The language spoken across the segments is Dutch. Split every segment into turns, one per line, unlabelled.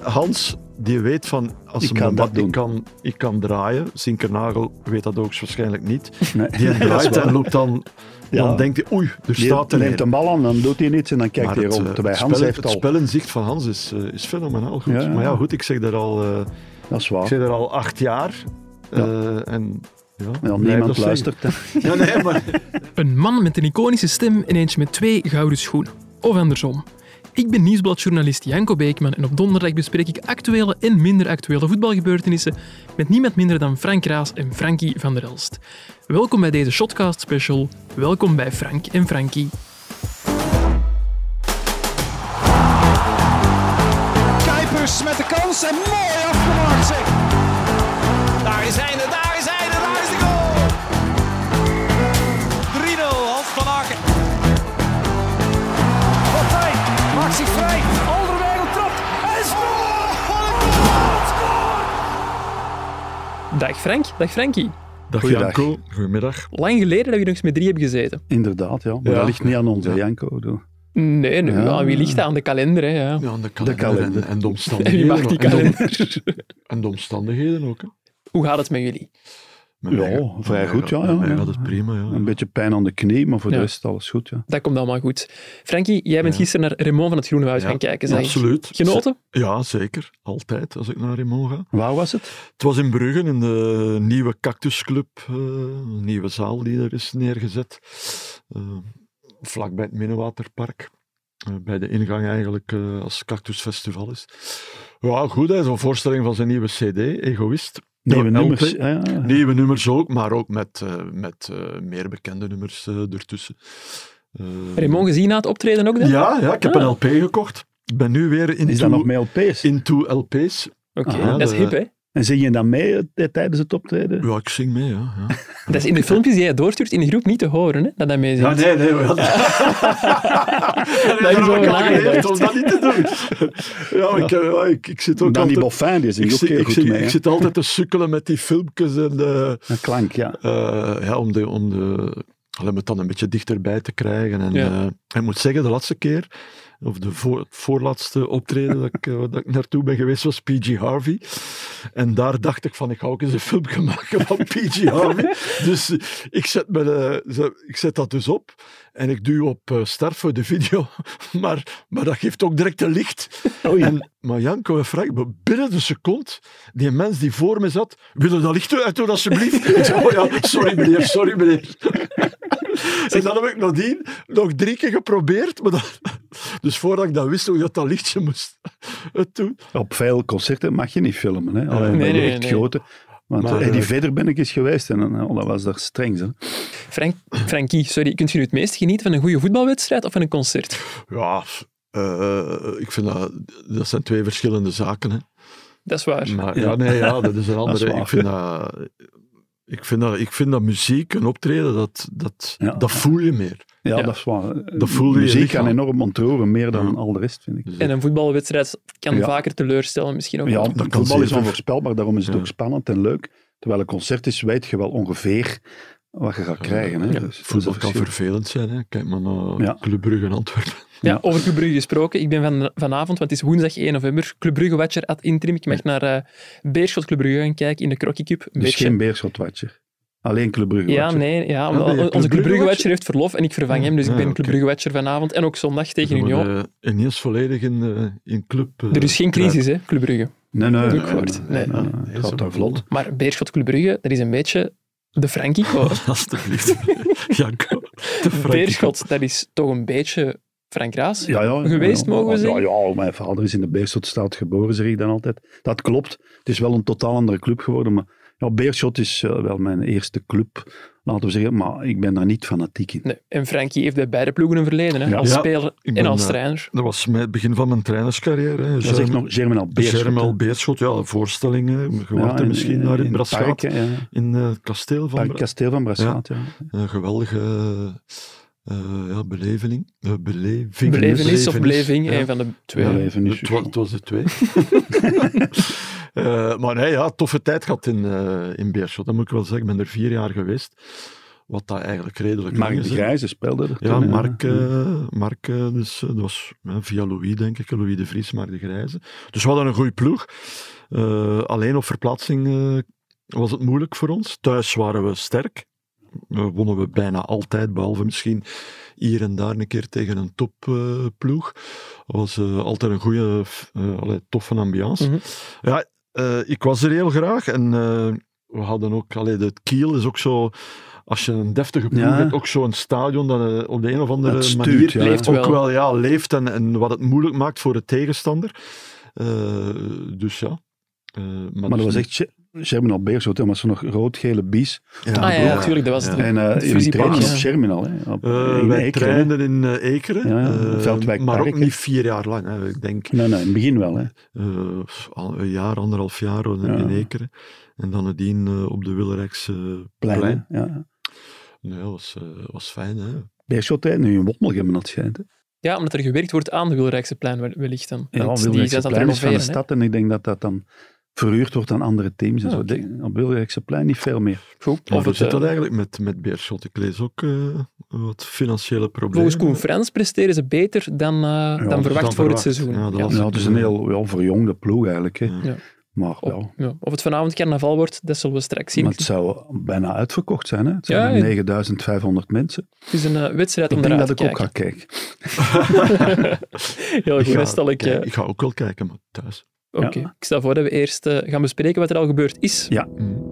Hans, die weet van als
Ik
een
kan
bomba-
dat doen.
Ik, kan, ik kan draaien. Sinkernagel weet dat ook waarschijnlijk niet.
Nee.
Die
Dat is
draait
waar.
en loopt dan.
Ja.
Dan denkt hij, oei, er
Die
staat er
neemt
een.
een bal aan, dan doet hij niets en dan kijkt
Maar
hij
het, eh,
rond. Terwijl
het
Hans
spel-
heeft
Het
al...
spel in zicht van Hans is, eh, is fenomenaal goed.
Ja, ja.
Maar ja, goed, ik zeg daar al, eh,
Dat is
ik
waar.
zeg daar al acht jaar. eh, en, ja,
Ja,
blijf
niemand
dat
luistert. hè.
zeggen. Ja, nee, maar
Een man met een iconische stem en eentje met twee gouden schoenen. Of andersom. Ik ben nieuwsbladjournalist Janko Beekman en op donderdag bespreek ik actuele en minder actuele voetbalgebeurtenissen met niemand minder dan Frank Raas en Frankie van der Elst. Welkom bij deze Shotcast special. Welkom bij Frank en Frankie.
Kuipers met de kans en mooi afgemaakt zeg. Daar is hij, daar is hij, daar is de goal. 3-0, Hans van Aken. Partij, maakt zich vrij. Alderweireld trapt en scoort.
Dag Frank, dag Frankie.
Dag
Goeiedag.
Janko, goedemiddag.
Lang geleden dat we nog eens met drie hebben gezeten.
Inderdaad, ja. Maar
Ja.
dat ligt niet aan onze Janko. doe.
Nee, nee
Ja.
aan wie ligt dat? Aan de kalender, hè? Ja.
Ja, en de
De
kalender,
kalender.
En, en de
En
omstandigheden.
wie mag die
en de-
kalender?
En de omstandigheden ook. Hè.
Hoe gaat het met jullie?
Met
Ja,
mij ga-
vrij
met
goed,
mij gaat-
ja, ja,
met mij
ja.
gaat het prima, ja.
Een beetje pijn aan de knie, maar voor
Ja.
de rest alles goed. Ja.
Dat komt allemaal goed. Frankie, jij bent
Ja.
gisteren naar Raymond van het Groene Huis
Ja,
gaan kijken. zeg.
Absoluut.
Genoten?
Ja, zeker. Altijd, als ik naar Raymond ga.
Waar was het?
Het was in Brugge, in de nieuwe cactusclub. eh, een nieuwe zaal die er is neergezet. Eh, vlak bij het Minnewaterpark. Eh, bij de ingang eigenlijk, eh, als cactusfestival is. Ja, goed, hè, zo'n voorstelling van zijn nieuwe cd, Egoïst.
Nieuwe
Ja,
nummers.
LP.
Ja, ja.
Nieuwe nummers ook, maar ook met, eh, met eh, meer bekende nummers eh, ertussen. Eh,
Raymond gezien na het optreden ook dan?
Ja, ja, ik heb
Ah.
een LP gekocht. Ik ben nu weer into,
Is dat nog met LP's?
into LP's.
Oké,
Ah,
dat is
dat-
hip, hè?
En zing je dan mee eh, tijdens het optreden?
Ja, ik zing mee, ja. ja.
Dat is in de filmpjes die jij doorstuurt in de groep niet te horen, hè? Dat hij meezingt.
nee, nee. Dat,
is wel
ik al
laag,
geleerd
echt.
om dat niet te doen. Ja, ik, eh, ja, ik, ik zit ook
Dan die
altijd...
Boffin, die
Ik,
zingt ook
zit-
heel
ik,
goed
zit-
mee.
ik
hè.
zit altijd te sukkelen met die filmpjes en de,
Een klank, ja.
eh, ja, om, de, om, de, om het dan een beetje dichterbij te krijgen. En
Ja.
eh, ik moet zeggen, de laatste keer, of de voor, het voorlaatste optreden dat, ik, eh, dat ik naartoe ben geweest, was PG Harvey. En daar dacht ik van, ik ga ook eens een filmpje maken van PG Harvey. dus eh, ik zet, mijn, eh, ze- ik zet dat dus op en ik duw op eh, start voor de video. maar, maar dat geeft ook direct een licht. En, maar Janko en Frank, maar binnen de seconde, die mens die voor me zat, willen dat licht uitdoen alsjeblieft? ik zei, oh ja, sorry meneer, sorry meneer. en dan heb ik nadien nog drie keer geprobeerd, maar dat, dus voordat ik dat wist hoe dat, dat lichtje moest het doen.
Op veel concerten mag je niet filmen. Hè. Alleen
Nee,
bij
nee,
de echt
nee.
grote. Want
Maar,
eh, die
eh,
verder ben ik eens geweest en eh, oh, dat was daar streng. Hè.
Frank, Frankie, sorry, kunt je nu het meest genieten van een goede voetbalwedstrijd of van een concert?
Ja, eh, ik vind dat, dat zijn twee verschillende zaken. Hè.
Dat is waar.
Maar, ja, nee, ja, dat is een
Dat is
andere.
waar.
ik, vind dat, ik, vind dat, ik vind dat muziek en optreden, dat, dat,
Ja.
dat voel je meer.
Ja,
Ja.
dat is waar.
Dat voelde je
Muziek
lichaam.
kan enorm ontroeren, meer dan
Ja.
al de rest, vind ik.
Dus
En een voetbalwedstrijd kan
Ja.
vaker teleurstellen, misschien ook.
Ja,
wel.
kan
voetbal
zeer
is
ver-
onvoorspelbaar, daarom is het
Ja.
ook spannend en leuk. Terwijl een concert is, weet je wel ongeveer wat je gaat krijgen. Hè.
Ja,
Dus dat is
voetbal
een
kan
verschil.
vervelend zijn. Hè. Kijk maar naar
Ja.
Club Brugge en Antwerpen.
Ja, over Club Brugge gesproken. Ik ben van, vanavond, want het is woensdag 1 november, Club Brugge Watcher ad interim. Ik mag naar eh, Beerschot Club Brugge gaan kijken in de Crocky Cup. Een
Dus
beetje
geen Beerschot-watcher. Alleen Club Brugge
Ja,
watcher.
nee, ja, omdat
ben je
onze
Club
Club Brugge
Brugge-watcher?
Watcher heeft verlof en ik vervang hem, dus ik
Ah,
ben
oké.
Club Brugge Watcher vanavond en ook zondag tegen
Ze
Union.
worden ineens volledig in, eh, in club. eh,
Er is geen crisis, hè, Club Brugge.
Nee, nee,
Dat
nee,
heb ik gehoord. Nee.
nee, nee,
Nee,
het
ze-
gaat daar vlot.
Maar Beerschot Club Brugge, dat is een beetje de Frankie.
Alsjeblieft. Janko. de Frankie.
Beerschot, dat is toch een beetje Frank Raas.
Ja, ja,
Geweest,
ja,
mogen we
ja,
zeggen?
Ja, ja, mijn vader is in de Beerschotstaat geboren, zeg ik dan altijd. Dat klopt. Het is wel een totaal andere club geworden, maar ja, Beerschot is eh, wel mijn eerste club, laten we zeggen. Maar ik ben daar niet fanatiek in.
Nee. En Frankie heeft bij beide ploegen een verleden, hè,
Ja.
als
Ja,
speler
ik
en
ben,
als
eh,
trainer.
Dat was met het begin van mijn trainerscarrière. hè.
Dat is echt
Germ-
nog Germinal Beerschot.
Germel
hè.
Beerschot, ja, voorstellingen. Je
Ja,
wordt er
in-
misschien naar in,
het
Brasschaat,
park, hè, ja.
in eh, het kasteel van
Park
Bra-
Kasteel van Brasschaat, ja.
Een geweldige eh, ja, beleving. Eh, beleving.
Belevenis of beleving,
Ja.
een van de twee.
Ja.
Ja.
Belevenis,
Het, wa-
ja.
het was de twee. Eh, maar nee, ja, toffe tijd gehad in, eh, in Beerschot. Dat moet ik wel zeggen. Ik ben er vier jaar geweest. Wat dat eigenlijk redelijk
Mark
lang
de
is, hè.
Grijze speelde er
Ja,
toen, hè.
Mark, eh, Mark eh, dus, eh, dat was eh, via Louis, denk ik. Louis de Vries, Mark de Grijze. Dus we hadden een goede ploeg. Eh, alleen op verplaatsing eh, was het moeilijk voor ons. Thuis waren we sterk. Eh, wonnen we bijna altijd, behalve misschien hier en daar een keer tegen een topploeg. ploeg. dat was eh, altijd een goede, eh, allee, toffe ambiance.
Mhm.
Ja, eh, ik was er heel graag. En eh, we hadden ook, allee, het Kiel is ook zo... Als je een deftige ploeg
Ja.
hebt, ook zo'n stadion dat eh, op de een of andere
Dat stuurt,
manier
ja. Leeft
ook
wel.
wel ja, leeft en, en wat het moeilijk maakt voor de tegenstander. Eh, dus ja. Eh, maar dus
Maar dat was
niet-
echt Sher- Sherminal Beerschot, hè, maar zo'n nog rood-gele bies.
Ah ja,
ja.
natuurlijk, dat was het.
Ja.
En eh jullie
Fusiepak,
trainen op
ja.
Sherminal, hè? Op,
Eh,
in
wij
Ekeren, hè.
trainden in eh, Ekeren,
Ja, ja,
eh,
Veldwijk
maar
Park,
ook
hè.
niet vier jaar lang. Hè. Ik denk
Nee, nee, in het begin wel, hè.
eh, al een jaar, anderhalf jaar in,
Ja.
in Ekeren. En dan nadien eh, op de Willerijkse
Plein,
plein.
hè. Ja.
Nee, dat was, eh, was fijn. Hè.
Beerschot traint nu in Wommelgem, dat schijnt. hè.
Ja, omdat er gewerkt wordt aan de Wilrijkseplein wel- wellicht dan.
Ja,
Want die zijn
Wilderijkse
dat
plein is van de
renoveren, hè.
stad en ik denk dat dat dan verhuurd wordt aan andere teams. En
Ja,
zo.
oké.
Denk- Op Wilderijkse plein niet veel meer.
Goed.
Maar
Of
hoe
het,
zit dat
eh,
eigenlijk met, met Beerschot? Ik lees ook eh, wat financiële problemen.
volgens Koen Frans presteren ze beter dan, eh, dan
dan
verwacht voor
verwacht.
het seizoen.
Ja, dat
Ja.
was-
Ja, het is een heel ja, verjongde ploeg eigenlijk. Hè.
Ja.
Ja.
Maar
Op-
ja,
ja. Of het vanavond carnaval wordt, dat zullen we straks zien.
maar het zou bijna uitverkocht zijn. Hè. Het
Ja,
zijn er
ja.
9500 mensen.
Het is een eh, wedstrijd om
Ik denk
naar
dat
te
ik ook
kijken.
ga kijken.
Heel goed,
ga-
dan stel ik... eh,
kijk, ik ga ook wel kijken, maar thuis.
Oké,
Ja.
ik stel voor dat we eerst eh, gaan bespreken wat er al gebeurd is.
Ja.
Mm.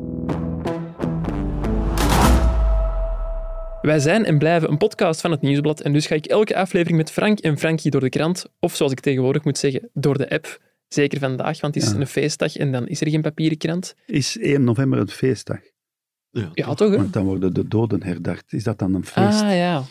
Wij zijn en blijven een podcast van het Nieuwsblad en dus ga ik elke aflevering met Frank en Frankie door de krant, of zoals ik tegenwoordig moet zeggen, door de app. Zeker vandaag, want het is
Ja.
een feestdag en dan is er geen papieren krant.
Is 1 november een feestdag?
Ja,
Ja, toch hè?
Want dan worden de doden herdacht. Is dat dan een feest?
Ah ja,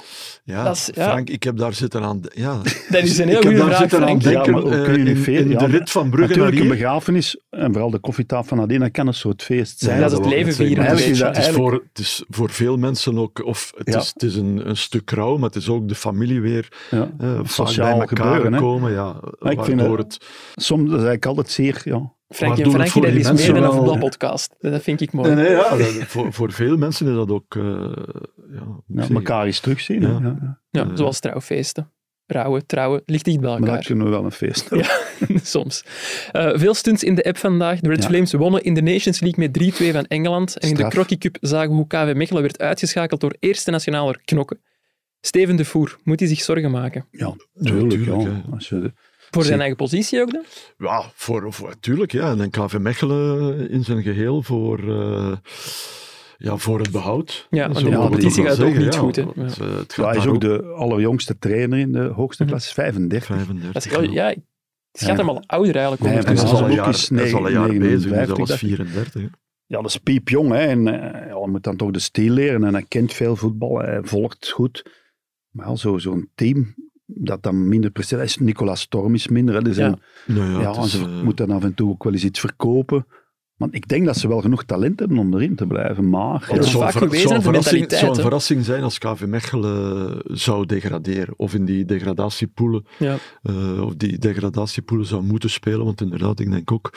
Ja,
Dat is- ja.
Frank, ik heb daar zitten aan... de- Ja,
dat is een
ik
heel
heb
goede
daar
vraag,
zitten aan
Frank.
Frank.
denken
Ja, maar hoe
eh,
kun je
in,
niet veel-
in
ja,
de rit van Brugge
Natuurlijk,
naar
een
hier.
begrafenis en vooral de koffietafel van Adina kan een soort feest zijn.
dat is het
wou ik
leven
net zeggen,
vieren,
maar Het
een beetje.
is, voor, het is voor veel mensen ook, of het
Ja.
is, het is een, een stuk rouw, maar het is ook de familie weer
Ja.
eh, vaak
Sociaal
bij elkaar
gebeuren, hè.
komen. Ja,
Maar ik vind
waardoor
dat-
het,
Soms dat is eigenlijk altijd zeer... Ja.
Maar
Frankie en
doen het
Frankie,
voor
dat
die
is meer
mensen
dan een
wel.
voetbalpodcast. Dat vind ik mooi.
Nee, nee, ja, dat- voor, voor veel mensen is dat ook... eh, ja, hoe
Ja,
zeg je?
elkaar eens terugzien. hè.
Ja.
Ja, ja.
Ja,
Eh.
zoals trouwfeesten. Rouwen, trouwen, ligt dicht bij
Maar
elkaar.
daar kunnen we wel een feest hebben.
Soms. Eh, veel stunts in de app vandaag. De Red
Ja.
Flames wonnen in de Nations League met 3-2 van Engeland. En in de
Straf.
Crocky Cup zagen we hoe KV Mechelen werd uitgeschakeld door eerste nationaler Knokken. Steven de Voer, moet hij zich zorgen maken?
Ja, tuurlijk. Ja,
tuurlijk, hè.
Als je,
Voor zijn
Zeker.
eigen positie ook dan?
Ja, voor, voor, tuurlijk, ja. En dan KV Mechelen in zijn geheel voor, eh, ja, voor het behoud.
Ja, want
Zo
de
mogen we
competitie
toch wel
gaat ook
zeggen,
niet
ja,
goed, hè.
want, eh, het
ja,
gaat
hij is
daar
ook de allerjongste trainer in de hoogste
Mhm.
klas, 35.
35.
Dat is, oh,
ja.
ja, ik schat hem al ouder eigenlijk. Dus
Nee,
En dat
ondertussen.
is
Hans
al een
Blok
jaar,
is
dat is al een jaar bezig, dus
59,
dat was
dacht ik.
34. hè.
Ja, dat is piepjong. Hè, en eh, ja, hij moet dan toch de stijl leren. En hij kent veel voetbal. Hij volgt goed. Maar ja, zo- zo'n team dat dan minder presteert. is- Nicolas Storm is minder. Hè, dus
Ja.
ja.
Nou ja,
Ja,
het
en
is,
ze
eh,
moeten dan af en toe ook wel eens iets verkopen. Want ik denk dat ze wel genoeg talent hebben om erin te blijven. Maar
het
is
ja,
zou
vaak
een ver-
gewezen
zou
aan
een
de
verrassing,
mentaliteit,
zou een
hè.
verrassing zijn als KV Mechelen zou degraderen. Of in die degradatiepoelen,
Ja.
eh, of die degradatiepoelen zou moeten spelen. Want inderdaad, ik denk ook,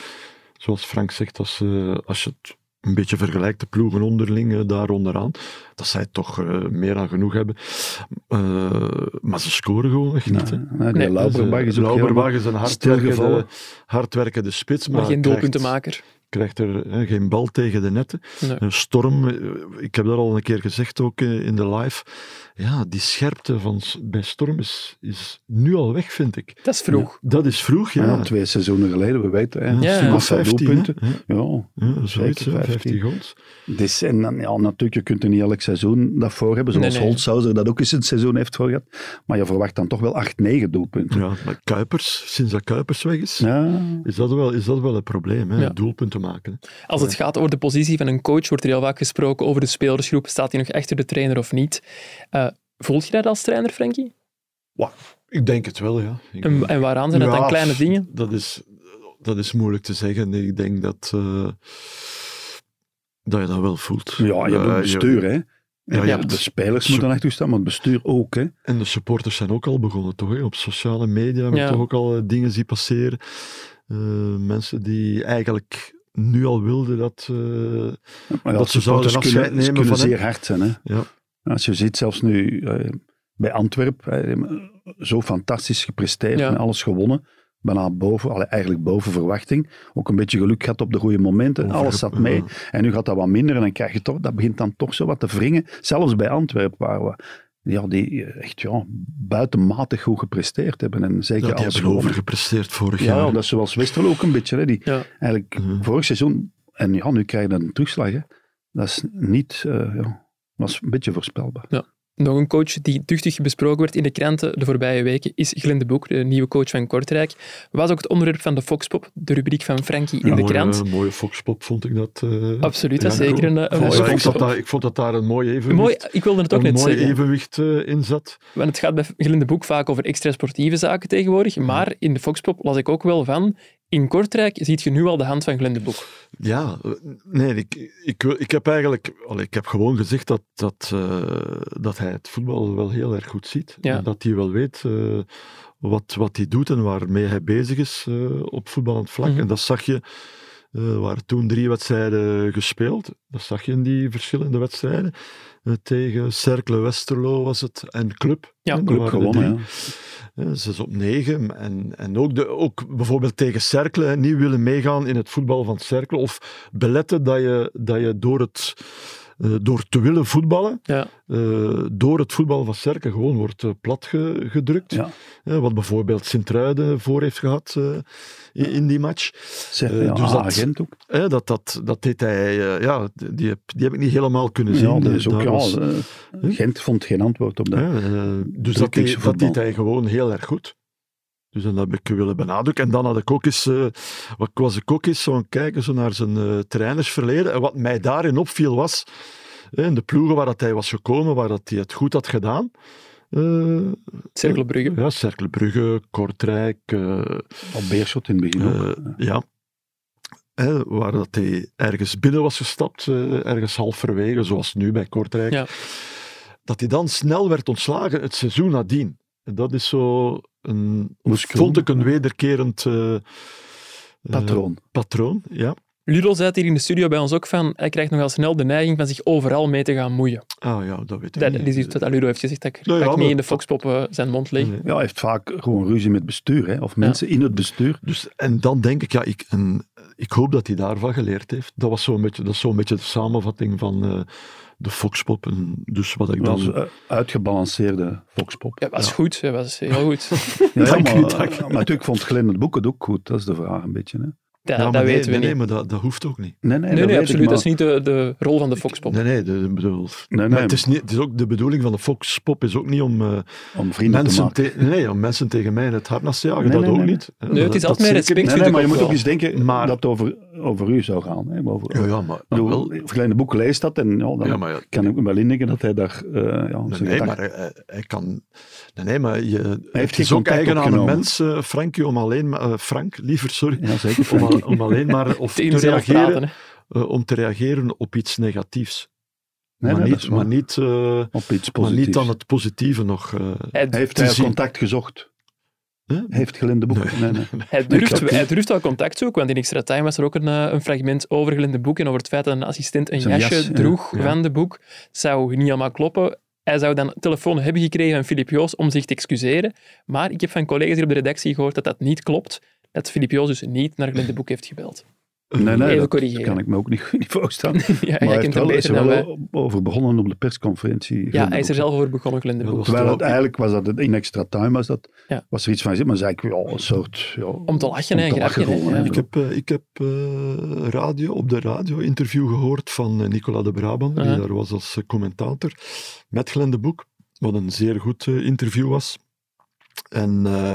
zoals Frank zegt, als, eh, als je het een beetje vergelijkt, de ploegen onderling eh, daar onderaan, dat zij het toch eh, meer dan genoeg hebben. Eh, maar ze scoren gewoon echt niet. hè.
nee, die
Nee.
Lauberbach is ook
Lauberbach is een hardwerkende,
stilgevallen.
hardwerkende spits, maar,
Maar geen
krijgt-
doelpuntenmaker.
krijgt er hè, geen bal tegen de netten.
Nee.
Een storm, eh, ik heb dat al een keer gezegd ook eh, in de live. Ja, die scherpte van, s- bij storm is, is nu al weg, vind ik.
Dat is vroeg.
Dat is vroeg,
helemaal-
ja.
Ja, twee seizoenen geleden, we weten. Hè,
Ja,
Ja,
maar
Aantal
15
doelpunten.
hè. Ja,
Ja,
ja, zoiets,
Zeker
hè,
15.
15 goals.
Dus, en dan, ja, natuurlijk, je kunt er niet elk seizoen dat voor hebben, zoals
Nee, nee.
Holzhauser dat ook eens het seizoen heeft voor gehad. Maar je verwacht dan toch wel 8, 9 doelpunten.
Ja, maar Kuipers, sinds dat Kuipers weg is,
Ja,
is, dat wel, is dat wel een probleem, hè?
Ja.
doelpunten maken. hè.
Als het gaat over de positie van een coach, wordt er heel vaak gesproken over de spelersgroep. Staat hij nog achter de trainer of niet? Eh, voelt je dat als trainer, Frankie?
Ik denk het wel, ja. Ik-
En, en waaraan zijn dat
Ja,
dan kleine dingen?
Dat is, dat is moeilijk te zeggen. Ik denk dat, eh, dat je dat wel voelt.
ja je hebt ook
Eh,
het bestuur, hè.
ja, je
Ja,
hebt-
de spelers moeten achter u staan, maar het bestuur ook. Hè.
En de supporters zijn ook al begonnen, toch? Hè? Op sociale media hebben
Ja.
we toch ook al eh, dingen zien passeren. Eh, mensen die eigenlijk nu al wilde dat... eh,
Maar ja,
Dat ze
supporters
zouden
kunnen,
afscheid nemen
kunnen
van hem.
zeer hard zijn. Hè?
Ja.
Als je ziet, zelfs nu eh, bij Antwerp, eh, zo fantastisch gepresteerd
Ja.
en alles gewonnen. Bijna boven, allee, eigenlijk boven verwachting. Ook een beetje geluk gehad op de goede momenten.
Over- eh,
alles zat mee.
ja.
En nu gaat dat wat minder en dan krijg je toch, dat begint dan toch zo wat te wringen. Zelfs bij Antwerp waar we ja, die eh, echt ja, buitenmatig goed gepresteerd hebben. En zeker
ja, die
alles
hebben
gewonnen.
overgepresteerd vorig
Ja,
jaar.
dat is zoals Westerlo ook een beetje. Hè, die
Ja.
Eigenlijk
Mhm.
vorig seizoen, en ja, nu krijg je dan een terugslag. Hè. Dat is niet, eh, ja, was een beetje voorspelbaar.
Nog een coach die duchtig besproken werd in de kranten de voorbije weken is Glenn de Boek, de nieuwe coach van Kortrijk. Was ook het onderwerp van de Foxpop, de rubriek van Frankie in
Ja,
de
mooie-
krant.
mooie foxpop vond ik dat. eh.
Absoluut, dat is
Ja,
zeker een, eh,
Ja,
een
ik,
mooie
vond dat
Foxpop.
daar, ik vond dat daar een mooi evenwicht,
Mooi, ik wilde het ook
een
net
mooi
zeggen.
evenwicht eh, in zat.
Want het gaat bij Glenn de Boek vaak over extra sportieve zaken tegenwoordig. Maar in de Foxpop las ik ook wel van. In Kortrijk ziet je nu al de hand van Glenn de Boek.
Ja, eh, nee, ik, ik, wil- ik heb eigenlijk allee, ik heb gewoon gezegd dat, dat, eh, dat hij het voetbal wel heel erg goed ziet.
Ja.
En dat hij wel weet eh, wat, wat hij doet en waarmee hij bezig is eh, op voetballend vlak.
Mhm.
En dat zag je, eh waren toen drie wedstrijden gespeeld. Dat zag je in die verschillende wedstrijden. Eh, tegen Cercle Westerlo was het en Club.
Ja,
Eh, er
Club
waren er
gewonnen,
drie. Eh, Zes op negen. En, en ook, de, ook bijvoorbeeld tegen Cercle. hè, Niet willen meegaan in het voetbal van Cercle. Of beletten dat je, dat je door, het, eh, door te willen voetballen.
Ja.
eh, door het voetbal van Cercle gewoon wordt eh, platgedrukt.
Ja.
Eh, wat bijvoorbeeld Sint-Truiden voor heeft gehad eh, in, in die match.
Zeg,
Eh,
ja,
dus dat-
agent ook.
Eh, dat, dat, dat deed hij. eh, ja, die heb, die heb ik niet helemaal kunnen zien.
Ja, dat is
Daar
ook, ja,
was-
eh, Gent vond geen antwoord op dat.
Ja, eh, dus dat,
Turkse
deed- dat
voetbal.
deed hij gewoon heel erg goed. Dus en dat heb ik willen benadrukken. En dan had ik ook eens, eh, wat was ik ook eens zo aan het kijken zo naar zijn eh, trainersverleden. En wat mij daarin opviel was, eh, in de ploegen waar dat hij was gekomen, waar dat hij het goed had gedaan. eh,
Cercle Brugge.
ja, Cercle Brugge, Kortrijk, eh,
Op Beerschot in het begin ook.
eh, ja. Hè, waar dat hij ergens binnen was gestapt, eh, ergens halverwege, zoals nu bij Kortrijk.
Ja.
Dat hij dan snel werd ontslagen het seizoen nadien. En Dat is zo een,
Moest
vond ik
kunnen.
een wederkerend eh, eh,
Patroon.
patroon, ja.
Ludo zei het hier in de studio bij ons ook van. Hij krijgt nogal snel de neiging van zich overal mee te gaan moeien.
Ah ja, dat weet ik
Dat,
niet.
dat is iets wat Ludo heeft gezegd. Dat ik,
Nou ja,
dat ik niet
maar-
in de Foxpop eh, zijn mond leeg.
Nee.
Ja, hij heeft vaak gewoon ruzie met bestuur. Hè, of mensen in het bestuur.
Dus, en dan denk ik, ja, ik, en, ik hoop dat hij daarvan geleerd heeft. Dat was zo'n beetje, dat is zo'n beetje de samenvatting van eh, de Foxpop. En dus wat ik
Dat
dan...
is eh, uitgebalanceerde foxpop.
Ja, was goed. Dat was heel goed.
Ja,
Dank
maar, eh,
u, dank u.
maar natuurlijk vond Glenn het boek het ook goed. Dat is de vraag een beetje. Hè.
Dat,
Ja, maar
dat
nee,
weten we
nee, Nee,
niet.
maar dat, dat hoeft ook niet.
Nee, nee, dat
Nee,
weet
nee,
ik,
absoluut.
maar-
Dat is niet de, de rol van de Foxpop.
Nee, nee, de, de bedoel.
nee,
Maar het is, niet, het is ook de bedoeling van de Foxpop is ook niet om, eh,
Om vrienden te
mensen,
maken.
te, nee, om mensen tegen mij in het hart naast te jagen.
Nee,
dat
nee,
ook
nee.
niet. Eh,
Nee, het is
dat-
altijd met
dat zeker
respect.
niet.
Nee, nee,
ik
maar je
ook
moet
wel.
ook eens denken
Maar-
dat het over, over u zou gaan. Hè? Over,
Ja, ja, maar,
Ik bedoel, eh,
wel,
het kleine boek leest dat en ja, dan
ja, maar ja,
kan ik me wel indenken dat hij daar... eh, ja,
nee,
zijn
nee,
gedachten-
maar hij, hij kan. Nee, nee, maar je,
heeft
het
geen
is ook
contact
eigen aan een
opgenomen.
mens, eh Frankie, om alleen maar. eh, Frank, liever, sorry.
Ja, zeker.
Om, al-
Frankie.
om alleen maar of
Tegen
te,
zelf
reageren,
praten. hè.
eh, om te reageren op iets negatiefs.
Nee,
maar,
nee, dat is
niet,
waar.
maar, niet, eh,
Op iets
maar
positiefs.
niet dan het positieve nog. eh,
Hij,
Heeft
te
hij
zien.
contact gezocht?
hè?
Heeft Glenn de boek?
Nee.
Nee, nee.
hij, durft,
dat-
hij durft wel contact zoeken, want in Extra Time was er ook een, eh, een fragment over Glenn de Boek en over het feit dat een assistent een
Zijn
jasje
jas, ja.
droeg
Ja.
van de Boek. Zou niet allemaal kloppen. Hij zou dan een telefoon hebben gekregen van Filip Joos om zich te excuseren. Maar ik heb van collega's hier op de redactie gehoord dat dat niet klopt. Dat Filip Joos dus niet naar Glenn de Boek heeft gebeld.
Nee,
Even
nee, dat
corrigeren.
kan ik me ook niet goed voorstellen. Maar
ja,
hij
jij
heeft
kent hem
wel, is
beter
er
dan
wel
wij.
o- over begonnen op de persconferentie. Glenn
Ja,
de
hij is er
Boek.
zelf over begonnen, Glenn de
Ja,
Boek.
dat was
Terwijl
er
het
ook-
eigenlijk was dat het in extra time was, dat
Ja.
was er iets van zin, maar zei ik, ja, een soort... Ja, om
Om te lachen, hè,
te
grapje.
lachen
hè.
gewoon, hè.
Ja.
Ik heb, eh, ik heb eh, radio, op de radio interview gehoord van eh, Nicola de Brabant,
Aha.
die daar was als eh, commentator, met Glenn de Boek, wat een zeer goed eh, interview was. En eh,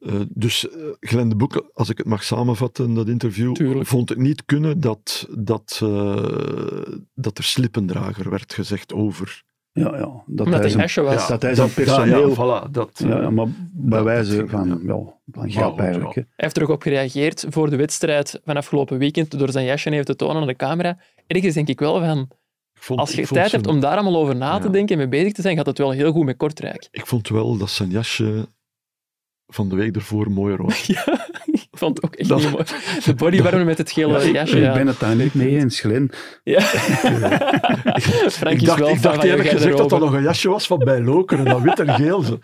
eh, dus eh, Glenn de Boek, als ik het mag samenvatten, dat interview,
Tuurlijk.
vond het niet kunnen dat, dat, eh, dat er slippendrager werd gezegd over.
Ja, ja, dat hij
Omdat hij een
zijn,
jasje was.
dat hij zijn personeel...
Ja, voilà, dat, eh,
Ja, maar bij
dat
wijze
ging,
van,
ja.
ja, van
Ja,
grap
goed,
eigenlijk.
ja.
hè.
Hij heeft er ook op gereageerd voor de wedstrijd van afgelopen weekend door zijn jasje even te tonen aan de camera. Ergens denk ik wel van,
ik vond-
als
ik
je
vond
tijd
zijn-
hebt om daar allemaal over na te
Ja.
denken en mee bezig te zijn, gaat het wel heel goed met Kortrijk.
Ik vond wel dat zijn jasje van de week ervoor mooier was.
Ja, ik vond het ook echt
Dat-
heel mooi. De bodywarmer met het gele jasje.
ik
ja.
ben het daar niet mee eens, Glenn.
Ja. Frank
Ik
is
dacht,
wel
ik dacht eerlijk gezegd dat dat nog een jasje was van bij Lokeren, dat wit en geel. zo.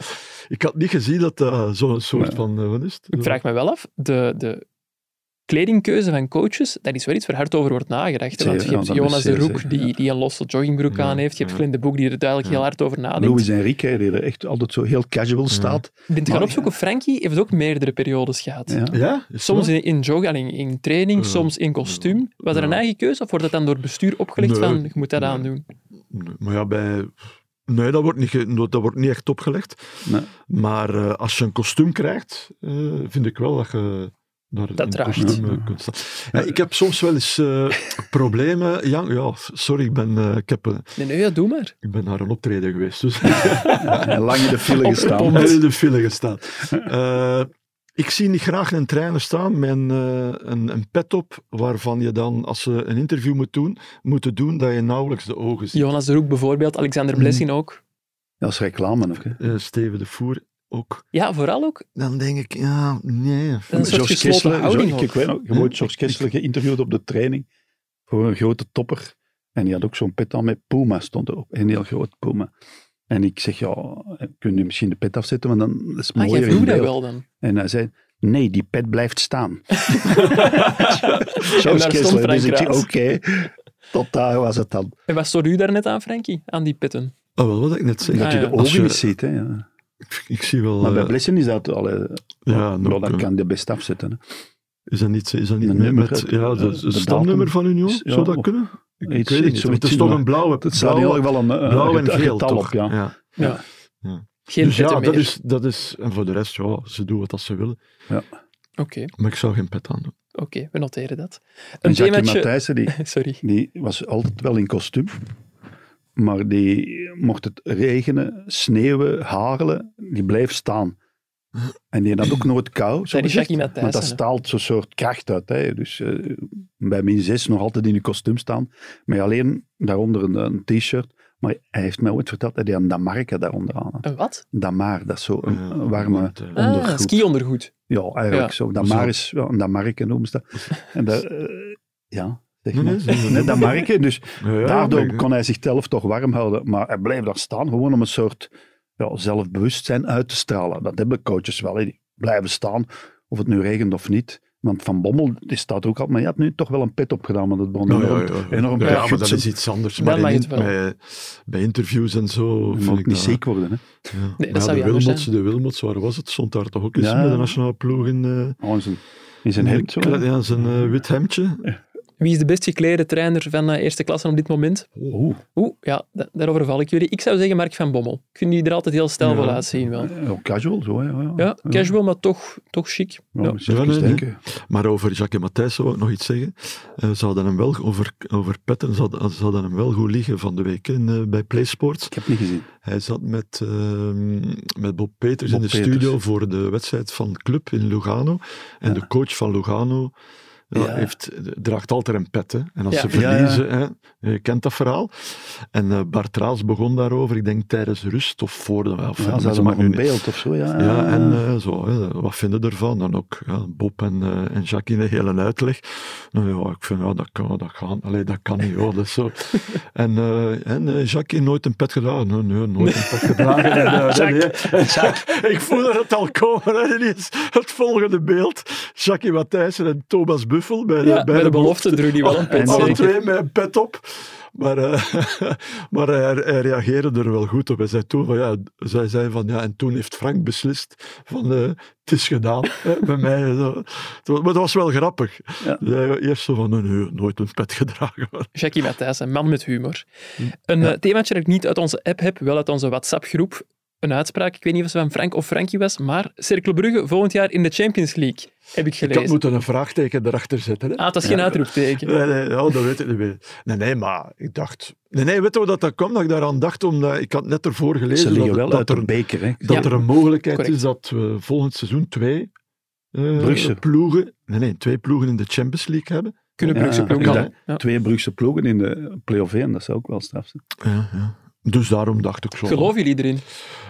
Ik had niet gezien dat dat zo'n soort
Nee.
van... eh, wat is het?
Ik vraag me wel af, de, de kledingkeuze van coaches, dat is wel iets waar hard over wordt nagedacht. hè, Want je
Zeker,
hebt
ja, dat is
Jonas de
zeer
Roek,
zeker,
die, die een losse joggingbroek
Ja,
aan heeft. Je hebt
ja.
Glenn de Boek, die er duidelijk heel hard over nadenkt.
Louis Enrique, die er echt altijd zo heel
Mm.
casual staat.
Ik ben te gaan
Maar-
opzoeken, Frankie heeft ook meerdere periodes gehad.
Ja.
Ja? is
Soms
het
in, in jogging, in training,
Ja.
soms in kostuum. Was er
Ja.
een eigen keuze of wordt dat dan door het bestuur opgelegd
Nee.
van, je moet dat
Nee.
aandoen?
zo? Maar ja, bij... Nee, dat wordt niet, ge- dat wordt niet echt opgelegd.
Nee.
Maar eh, als je een kostuum krijgt, eh, vind ik wel dat je daar
Dat
in
draagt.
kostuum eh,
Ja.
kunt staan. Ja, ik heb soms wel eens eh, problemen. Ja, ja, sorry, ik ben, eh, ik, heb, eh,
Nee, nee, ja, doe maar.
ik ben naar een optreden geweest. Dus
En lang in de file gestaan.
Opgepompt.
En in de file gestaan. Eh, ik zie niet graag een trainer staan met een, eh, een, een pet op, waarvan je dan, als ze een interview moet doen, moeten doen, dat je nauwelijks de ogen ziet.
Jonas de Roek bijvoorbeeld,
Hm.
Alexander Blessing ook.
Dat is reclame ook. Hè.
Eh, Steven de Voer ook.
Ja, vooral ook. Ah,
Dan denk ik, ja, nee.
Dat is een soort
George
gesloten
Kessler,
houding
George-
ook.
ik, weet nog, je hebt ooit George Kessler geïnterviewd op de training voor een grote topper. En die had ook zo'n pet aan met Puma stond erop. Een heel groot Puma. En ik zeg, ja, kun je misschien de pet afzetten, want dan is het
Ah,
mooier
jij
in
vroeg dat
beeld.
wel dan.
En hij zei, nee, die pet blijft staan.
En daar
George
stond
Kessler, dus
Frank
ik zeg, oké,
Raas.
tot daar was het dan.
En wat stond u daar net aan, Frankie? Aan die pitten?
Ah, wel, wat ik net zei.
Ja,
Dat je
ja.
de
Als je-
ogen niet ziet, hè. ja.
Ik, ik zie wel...
Maar bij
eh,
Blessen is dat al... eh,
ja,
wel,
nog,
dat
eh,
kan je best afzetten. Hè.
Is dat niet, is dat niet
Een
met,
nummer,
met-
het-
ja, de,
eh,
de
de
stamnummer
datum.
van Union?
Is- ja,
Zou dat
of
kunnen? Ik
iets-
weet het
iets-
niet. want Het is
iets-
toch
maar-
een blauwe...
Het staat in
blauwe-
ieder geval een, eh, een
blauw en
get-
geel,
getal
toch?
op, ja.
ja.
Ja.
Ja.
Geen
Dus
pitten
ja, dat
meer.
is, dat is... En voor de rest, ja, ze doen wat ze willen.
Oké,
Maar ik zou geen pet aan doen.
oké, we noteren dat. Een
En Jackie
themaatje...
Matthijssen, die,
Sorry.
die was altijd wel in kostuum. Maar die mocht het regenen, sneeuwen, hagelen, die bleef staan. En die had ook nooit kou. zo
Zijn die
gezegd.
Jackie
Want dat
Matthijssen? hè?
staalt zo'n soort kracht uit. Hè. Dus eh, bij min 6 nog altijd in een kostuum staan. Maar alleen daaronder een, een t-shirt. Maar hij heeft mij ooit verteld dat hij een Damarka daaronder aan had.
Een wat?
Damar, dat is zo een,
Ja,
een warme...
want, eh,
Ah,
Ondergoed.
ski-ondergoed.
Ja, eigenlijk
Ja.
zo. Damar is... Ja, een Damarke noemen ze dat. En dat eh, ja, zeg
Nee,
maar.
nee, ze-
Een Damarke, dus
Ja, ja,
Daardoor
maar-
kon hij zichzelf toch warm houden, maar hij bleef daar staan, gewoon om een soort ja, zelfbewustzijn uit te stralen. Dat hebben coaches wel, hè. die blijven staan, of het nu regent of niet. Want Van Bommel die staat er ook al, maar je had nu toch wel een pet opgedaan, want het begon
Oh, Ja,
enorm,
ja, ja.
enorm
Ja,
te
maar dat
gutsen.
is iets anders.
Dan
Maar in,
mag het wel.
bij, bij interviews en zo.
Je
vind
moet
ik
niet
dat-
ziek worden. Hè.
Ja.
dat
Maar
zou
de
je anders
Wilmots,
zijn.
de Wilmots, waar was het? Stond daar toch ook eens
Ja.
met de nationale ploeg in, eh,
Oh, in zijn, in zijn hemd zo. hè.
Ja, zijn eh, wit hemdje.
Wie is de best geklede trainer van eh, eerste klasse op dit moment?
Oeh,
Oeh, ja, da- daarover val ik jullie. Ik zou zeggen Mark van Bommel. Ik vind die er altijd heel stijlvol
Ja.
uitzien wel.
ja, casual zo. hè, Ja,
Ja, casual, maar toch, toch chic.
Ja,
Ja.
moet je even
Ja, nee,
denken.
Maar over Jacques Matthijs zou ik nog iets zeggen. Eh, ze hadden hem wel, over, over petten, ze hadden, ze hadden hem wel goed liggen van de week in, eh, bij PlaySports.
Ik heb het niet gezien.
Hij zat met, ehm, met Bob Peters
Bob
in de
Peters.
studio voor de wedstrijd van Club in Lugano. En de coach van Lugano ja,
Ja.
heeft, draagt altijd een pet. Hè. En als
Ja.
ze
Ja, ja.
verliezen, Hè, je kent dat verhaal. En eh, Bart Raas begon daarover, ik denk tijdens rust of voor de... Of,
Ja, ze
maar
hadden
maakt
nog
nu
een
niet-
beeld of zo. Ja,
ja, en eh, zo, hè, wat vinden ervan? Dan ook ja, Bob en, eh, en Jackie een hele uitleg. Nou ja, ik vind, ja, dat kan, dat kan, Allee, dat kan niet, hoor. Dat is zo. En, eh, en eh, Jackie nooit een pet gedaan. Nee, nee, nooit een pet gedaan. En, eh, nee, nee. En Jacques, ik voelde het al komen. Hè. Dit is het volgende beeld. Jackie Matthijssen en Thomas Buffel bij de,
Ja, bij
belofte.
de
Ah,
belofte droeg die wel een pet.
En-
Alle
Sorry.
zeker.
twee met een pet op. Maar, eh, maar hij, hij reageerde er wel goed op. Hij zei toen van, ja, zij zei van ja, en toen heeft Frank beslist van eh, het is gedaan hè, bij mij. Zo. Het was- Maar dat was wel grappig.
Ja.
Hij eerst zo van nee, nee, nooit een pet gedragen. Maar
Jackie Matthijs, een man met humor. Een eh, themaatje dat ik niet uit onze app heb, wel uit onze WhatsApp-groep. Een uitspraak, ik weet niet of ze van Frank of Frankie was, maar Cercle Brugge volgend jaar in de Champions League, heb ik
ik had
gelezen.
moeten een vraagteken erachter zetten. Hè.
Ah, dat is geen uitroepteken.
Nee, nee, ja, dat weet ik niet meer. Nee, nee, maar ik dacht... Nee, nee, weet je hoe dat, dat kwam? Dat ik daaraan dacht, omdat ik had net ervoor
Ze
gelezen dat,
liggen
het-
wel
dat
uit
er
een beker. Hè.
dat
Ja,
er een mogelijkheid
correct.
is dat we volgend seizoen twee eh,
Brugse.
ploegen, nee, nee, twee ploegen in de Champions League hebben.
Kunnen Brugse
Ja,
ploegen
ja.
zijn. Ja.
Twee Brugse ploegen in de play-off 1, dat zou ook wel straf zijn.
Ja, ja. Dus daarom dacht ik zo.
Geloof jullie erin?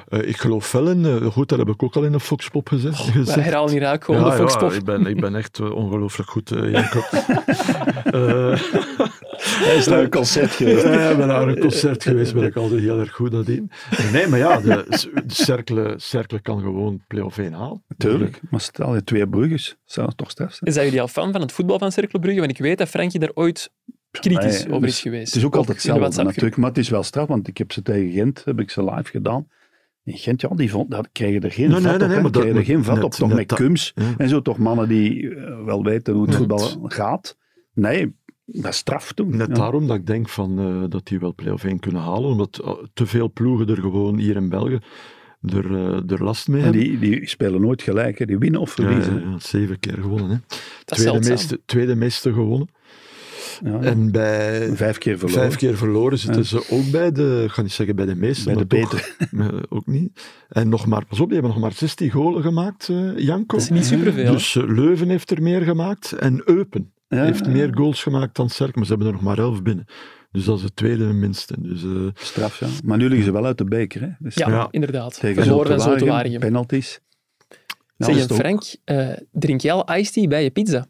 Eh, ik geloof wel in. eh, goed, dat heb ik ook al in een Foxpop
Oh,
gezegd. gezegd.
Wij herhalen hier eigenlijk gewoon de Foxpop.
ik, ben, ik ben echt eh, ongelooflijk goed, eh, Jacob. Eh,
Hij is naar een concert geweest.
Ja, ja, bij eh, naar een concert geweest ben ik altijd heel erg goed aan in. Nee, maar ja, de, de cerkelen, cerkelen kan gewoon play-off 1 halen.
Tuurlijk, maar stel je twee brugges, zou het toch straf zijn?
Zijn jullie al fan van het voetbal van Cercle Brugge? Want ik weet dat Frankie daar ooit kritisch
Nee,
over
dus
is geweest.
Het is ook altijd
in
hetzelfde
de WhatsApp-groep.
natuurlijk, maar het is wel straf, want ik heb ze tegen Gent, heb ik ze live gedaan. In Gent, ja, die vond, dat kregen er geen
Nee,
vat
nee,
op,
nee,
hè.
maar dat-
kregen er geen vat
net-
op, toch
net
met
dat-
Kums
Ja.
en zo, toch mannen die eh, wel weten hoe het
Net.
voetbal gaat. Nee, dat is straf toen.
Net
Ja.
daarom dat ik denk van, eh, dat die wel play-off 1 kunnen halen, omdat eh, te veel ploegen er gewoon hier in België er, eh, er last mee
En
hebben.
die, die spelen nooit gelijk, hè. die winnen of
Ja,
verliezen.
ja, ja, zeven keer gewonnen. Hè.
Dat is
Tweede,
zeldzaam.
meeste, tweede meeste gewonnen.
Ja.
En bij
Vijf keer verloren.
vijf keer verloren zitten
Ja.
ze ook bij de, ik ga niet zeggen bij de meeste,
Bij de
maar toch,
beter.
eh, ook niet. En nog maar, pas op, die hebben nog maar 16 golen gemaakt, eh, Janko.
Dat is niet superveel.
Dus eh, Leuven heeft er meer gemaakt en Eupen
Ja,
heeft
ja.
meer goals gemaakt dan Cerkel, maar ze hebben er nog maar 11 binnen. Dus dat is het tweede minste. Dus, eh,
Straf, ja. Maar nu liggen ze wel uit de beker, hè. Dus
ja,
Ja.
inderdaad.
Tegen
Verloren dan zo te
Zultuarium,
waren.
penalties. Nou, Ja,
Zeg,
dat
en
is het ook.
Frank, eh, drink jij al iced tea bij je pizza?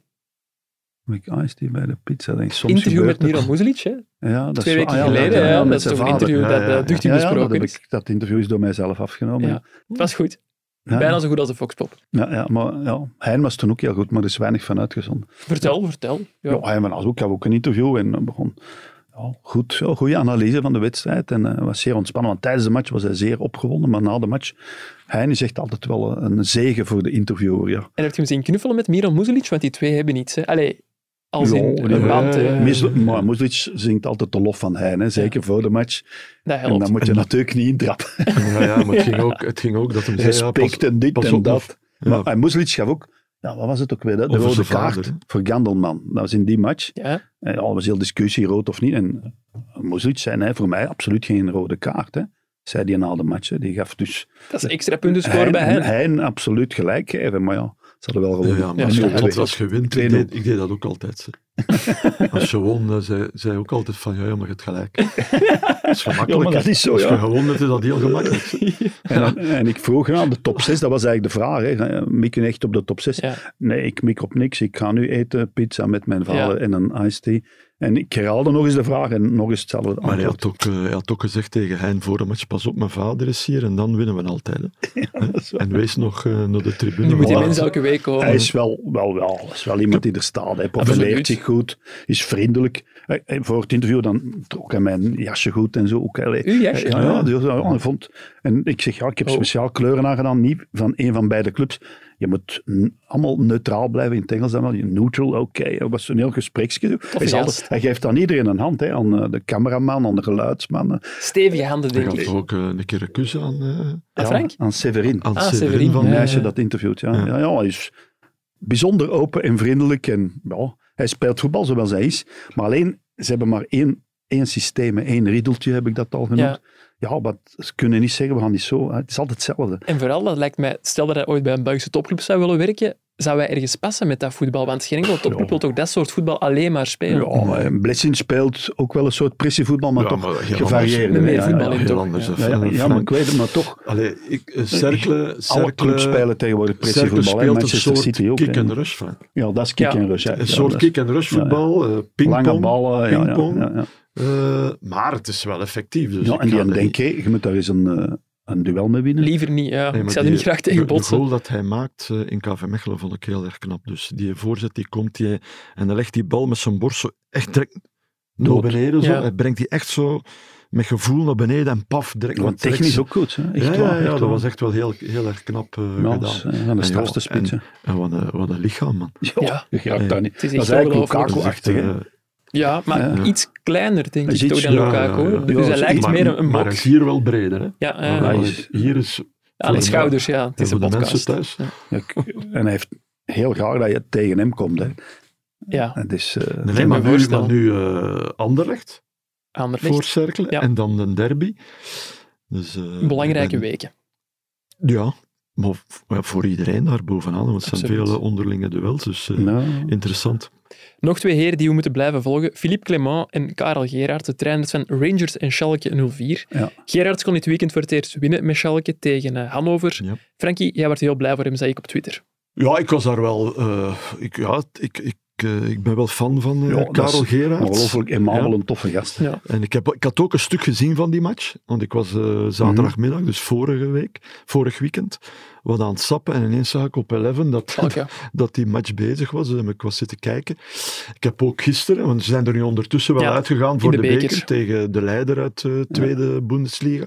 Mike Ice ah, die bij de pizza, denk ik. Soms
Interview
gebeurt
met
dat.
Miran Muzelic, hè?
Ja, dat is
twee
waar.
weken
Ah, ja,
geleden.
ja,
hè?
ja, met
dat is
zijn
toch een
vader.
interview
Ja,
dat
ja, ja.
eh duchtig
Ja, ja, dat,
besproken
heb
is.
ik, dat interview is door mijzelf afgenomen.
Ja.
Ja.
Het was goed.
Ja,
Bijna zo goed als de Foxpop.
ja, ja, maar ja, Hein was toen ook heel goed, maar er is weinig van uitgezonden.
Vertel, vertel. Ja.
Ja. Hein van Ashoek had ook een interview en eh, begon ja, goed, ja, goede analyse van de wedstrijd en eh, was zeer ontspannen. Want tijdens de match was hij zeer opgewonden, maar na de match, Hein is echt altijd wel eh, een zegen voor de interviewer. Ja.
En heb je hem zien knuffelen met Miran Muzelic? Want die twee hebben iets. Hè? Allee, als
Ja,
in
ja,
een band. eh, hè.
ja, ja.
Mis- Maar Muzlic zingt altijd de lof van Hein, hè, zeker voor de match.
Dat
En
helpt.
dan moet je natuurlijk niet intrappen.
ja, ja, maar het ging ook, het ging ook dat hem zei, ja, pas-
Respect en dit
pas
en
op,
dat.
ja.
Maar en Muzlic gaf ook, ja, wat was het ook weer, hè? de
Over
rode
zijn
kaart
vader, hè?
voor Gandelman. Dat was in die match.
Ja.
En al was heel discussie, rood of niet. En Muzlic zei, nee, voor mij absoluut geen rode kaart. Hè. Zei die na de match. hè. Die gaf dus
Dat is extra punten scoren bij hen.
hij absoluut gelijk geven. Maar ja, ze hadden wel
Ja,
gewonnen.
ja, maar als
Ja,
je,
nul-twee.
wint, als je wint, ik
2-0.
deed, ik deed dat ook altijd. hè. als je won, eh, zei, zei ook altijd van, ja, ja, maar je hebt gelijk. Dat is gemakkelijk.
Ja, maar dat
hè.
is zo,
als je
ja.
gewonnen hebt, is dat heel gemakkelijk.
En, en ik vroeg aan de top 6, dat was eigenlijk de vraag. Hè. Nou Mikken echt op de top 6?
Ja.
Nee, ik mik op niks. Ik ga nu eten, pizza met mijn vader en een iced tea. En ik herhaalde nog eens de vraag en nog eens hetzelfde
Maar hij
antwoord.
had, ook, eh, hij had ook gezegd tegen Hein voor de match, pas op, mijn vader is hier en dan winnen we altijd. hè. en wees nog eh, naar de tribune.
Nu moet die
Maar-
mensen elke week komen.
Hij is wel, wel, wel, is wel iemand die er staat. Hij
Absoluut.
profileert zich goed, is vriendelijk. Hij- hij- voor het interview dan trok hij mijn jasje goed en zo. Ook, Allee, eh,
Uw jasje?
Ja, ja, die- ja, hij vond, en ik zeg, ja, ik heb
Oh.
speciaal kleuren aangedaan, niet van een van beide clubs. Je moet n- allemaal neutraal blijven in het Engels. Dan wel. Neutral, oké. Dat was een heel gespreksje. Hij, is
gast.
altijd- hij geeft aan iedereen een hand. Hè, aan eh, de cameraman, aan de geluidsman. eh,
Stevige handen,
Hij
denk
gaf
ik.
toch ook eh, een keer een kus aan, eh,
Ah,
ja,
Frank?
Aan Severin.
aan
Ah,
Severin
Severin,
van
een
ja.
mij.
meisje dat interviewt. Ja.
Ja.
Ja. Ja, hij is bijzonder open en vriendelijk. En, ja, hij speelt voetbal zoals hij is. Maar alleen, ze hebben maar één, één systeem, hè. één riddeltje heb ik dat al genoemd. Ja, wat, ze kunnen niet zeggen, we gaan niet zo. hè. Het is altijd hetzelfde.
En vooral, dat lijkt mij, stel dat hij ooit bij een Belgische topclub zou willen werken, zou wij ergens passen met dat voetbal? Want geen enkele topclub
Ja.
wil toch dat soort voetbal alleen maar spelen?
Ja, maar een Blessing speelt ook wel een soort pressievoetbal, maar
Ja,
toch
maar heel
gevarieerd.
anders.
Met meer
ja,
voetbal
ja,
in
Heel
toch,
anders.
ja.
hè,
ja, ja,
Frank.
ja, maar ik weet het, maar toch.
Allee, ik, eh, cerkelen,
Alle
cerkelen,
clubs spelen tegenwoordig
cerkelen
pressievoetbal. hè.
speelt een
Manchester
soort
City ook.
kick
hè.
and rush, Frank.
Ja, dat is kick
Ja.
and rush. hè.
Een
Ja,
soort
dat is
kick and rush voetbal, eh, pingpong.
Lange ballen. ja, ja,
pingpong.
ja, ja.
Eh, maar het is wel effectief. Dus
ja,
ik
en
ga
die
er
denk je, je moet daar eens een, eh, een duel mee winnen.
Liever niet, ja.
Nee,
ik
maar
zou er
die-
niet graag
de-
tegen
De
botsen.
goal dat hij maakt eh, in KV Mechelen vond ik heel erg knap. Dus die voorzet die komt die, en dan legt die bal met zijn borst zo echt direct naar
Dood.
beneden. Zo.
Ja.
Hij brengt die echt zo met gevoel naar beneden en paf direct.
Want
want direct-
technisch ook goed. Hè? Echt
ja,
waar,
ja, ja,
echt
dat
waar.
was echt wel heel, heel erg knap eh,
Ja, dat is,
gedaan.
eh, van de
En
strafste
joh, en-
spitsen.
En wat een, wat een lichaam, man.
Ja.
Ja, je raakt
Ja.
daar niet.
Het is
dat
echt
is eigenlijk
ongelooflijk.
Dat is echt,
Lukaku-achtig. hè.
eh,
Ja, maar
Ja.
iets kleiner, denk
Hij
ik,
is
toch
iets-
dan
ja,
Lukaku.
ja, ja.
Dus
Ja,
hij lijkt
maar-
meer een, een
Maar hij
bok.
is hier wel breder, hè.
Ja, eh,
Maar
hij
hij
is-
is- hier is...
aan de schouders, ja. Het is een
voor de mensen
podcast.
thuis.
Ja, k- en hij heeft heel graag dat je tegen hem komt. Hè.
Ja,
Het is, eh,
Nee,
kan
maar
me
nu,
voorstellen.
maar nu eh, Anderlecht.
Anderlecht.
voor cirkelen
Ja.
en dan de derby. Dus, eh,
Belangrijke
ik ben-
weken.
Ja, Maar v- ja, voor iedereen daar bovenaan, want het zijn
Absoluut.
vele onderlinge duels, dus eh,
Nou,
interessant.
Nog twee heren die we moeten blijven volgen. Philippe Clement en Karel Gerard, de trainers van Rangers en Schalke 04.
Ja.
Gerard kon dit weekend voor het eerst winnen met Schalke tegen eh, Hannover.
Ja.
Frankie, jij werd heel blij voor hem, zei ik op Twitter.
Ja, ik was daar wel... eh, ik, ja, ik, ik, eh, ik ben wel fan van eh,
Ja, dat is
Karel Gerards.
ongelooflijk eenmaal
Ja.
een toffe gast.
Ja.
En ik, heb, ik had ook een stuk gezien van die match, want ik was eh, zaterdagmiddag,
Mhm.
dus vorige week, vorig weekend, wat aan het sappen en ineens zag ik op 11 dat,
Oké.
dat die match bezig was. En ik was zitten kijken. Ik heb ook gisteren, want ze zijn er nu ondertussen wel
Ja,
uitgegaan voor
de
de, beker.
beker.
tegen de leider uit de tweede Bundesliga,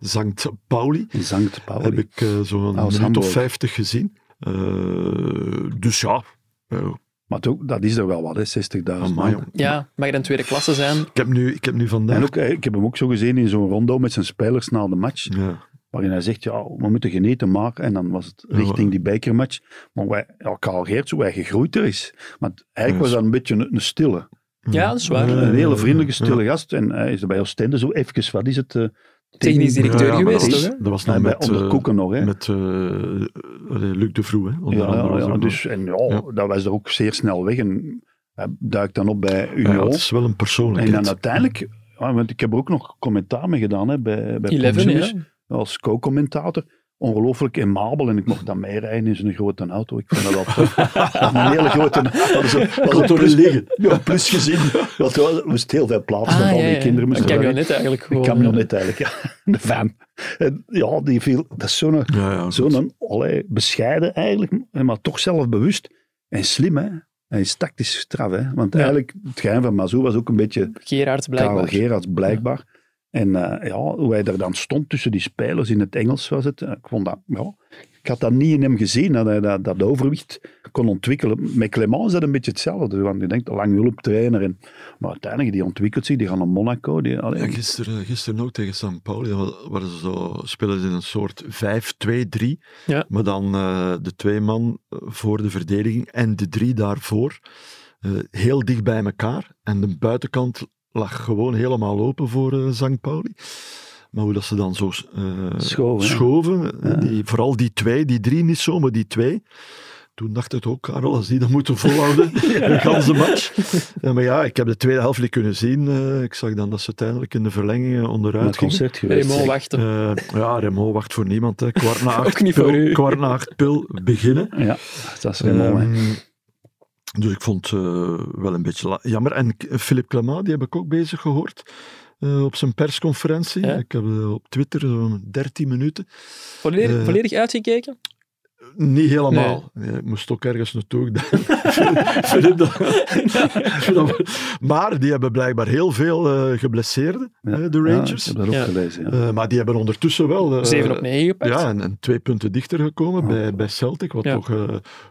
Zankt Pauli.
Zankt Pauli.
Heb ik eh, zo'n
Als
minuut
Hamburg.
of 50 gezien. Eh, dus ja, eh,
Maar toch, dat is er wel wat, hè, 60.000
amai,
man.
jong.
Ja, mag je dan tweede klasse zijn?
ik, heb nu, ik heb nu vandaag...
En ook, eh, ik heb hem ook zo gezien in zo'n rondo met zijn spelers na de match,
ja.
waarin hij zegt, ja, we moeten genieten maken. En dan was het
Ja.
richting die bekermatch. Maar wij, ja, Karel Geerts, hoe hij gegroeid er is. Want
Ja,
eigenlijk was dat een beetje een, een stille.
Ja, dat is waar.
Ja,
Een
ja,
hele
ja,
vriendelijke,
Eh, ja.
stille gast. En hij is er bij Oostende zo even, wat is het? eh,
Technisch directeur
maar
geweest,
dat was,
toch? hè?
Dat was nog
Nee, bij
met,
onder
eh,
Koeken nog, hè.
met eh, allee, Luc de Vroe, hè? onder
ja,
andere. was
ja,
ook nog.
dus, en ja,
Ja.
dat was er ook zeer snel weg. En hij duikt dan op bij
Ja,
Union.
het is wel een
en
persoonlijkheid.
dan uiteindelijk, ja, want ik heb er ook nog commentaar mee gedaan hè, bij, bij
Eleven,
Pontius,
ja.
als co-commentator. Ongelooflijk emabel en ik mocht dan meerijden in zijn grote auto. Ik vind dat wel tof. Dat is een hele grote auto. Dat is een, was
Kon
een
door
plus,
liggen.
ja, plus gezien. Want er moest heel veel plaats
Ah,
van al
ja,
die
ja.
kinderen.
Een
moesten daarin.
camionet eigenlijk.
Een
Gewoon. eh,
camionet eigenlijk, ja. De van. En ja, die viel, dat is zo'n
Ja, ja, goed.
Zo'n allee, bescheiden eigenlijk, maar toch zelfbewust en slim. Hè? Hij is tactisch straf. Hè? Want
Ja.
eigenlijk, het geheim van Mazou was ook een beetje
Gerard
Karel
blijkbaar.
Gerards blijkbaar. En eh, ja, hoe hij daar dan stond tussen die spelers in het Engels was het. eh, Ik, vond dat, ja, ik had dat niet in hem gezien, dat hij dat, dat overwicht kon ontwikkelen. Met Clement is dat een beetje hetzelfde. Want je denkt, lang hulptrainer. En, maar uiteindelijk, die ontwikkelt zich, die gaan naar Monaco. Die, allee,
Ja, gisteren, gisteren ook tegen St. Pauli wa- waren ze zo, spelen ze in een soort 5-2-3.
Ja.
Maar dan eh, de twee man eh, voor de verdediging en de drie daarvoor. eh, heel dicht bij elkaar. En de buitenkant lag gewoon helemaal open voor eh St. Pauli. Maar hoe dat ze dan zo eh,
Schoven, hè?
schoven, eh,
Ja.
die, vooral die twee, die drie niet zo, maar die twee. Toen dacht ik ook, Karel, als die dat moeten volhouden, de ganse match. Ja, maar ja, ik heb de tweede helft niet kunnen zien. Eh, ik zag dan dat ze uiteindelijk in de verlengingen
naar
onderuit
het
gingen.
concert geweest.
Raymond wachten.
Eh, ja, Remo wacht voor niemand. Hè. Kwart na acht
Ook niet voor
pil-
u.
Kwart na acht pil beginnen.
Ja, dat is Raymond. hè.
Ehm, dus ik vond het wel een beetje la- jammer. En K- Philippe Clement, die heb ik ook bezig gehoord. eh, op zijn persconferentie.
Ja.
Ik heb eh, op Twitter zo'n 13 minuten.
Volledig,
Eh.
volledig uitgekeken?
Niet helemaal. Nee, ik moest ook ergens naartoe. Ik dacht, Philip, dat- dat- maar die hebben blijkbaar heel veel eh, geblesseerden,
Ja.
eh, de Rangers.
Ja, ik heb dat ook
Ja.
gelezen. Ja.
Eh, maar die hebben ondertussen wel... eh,
7 op 9 gepakt?
Ja, en, en twee punten dichter gekomen
Oh.
bij, bij Celtic, wat
Ja.
toch eh,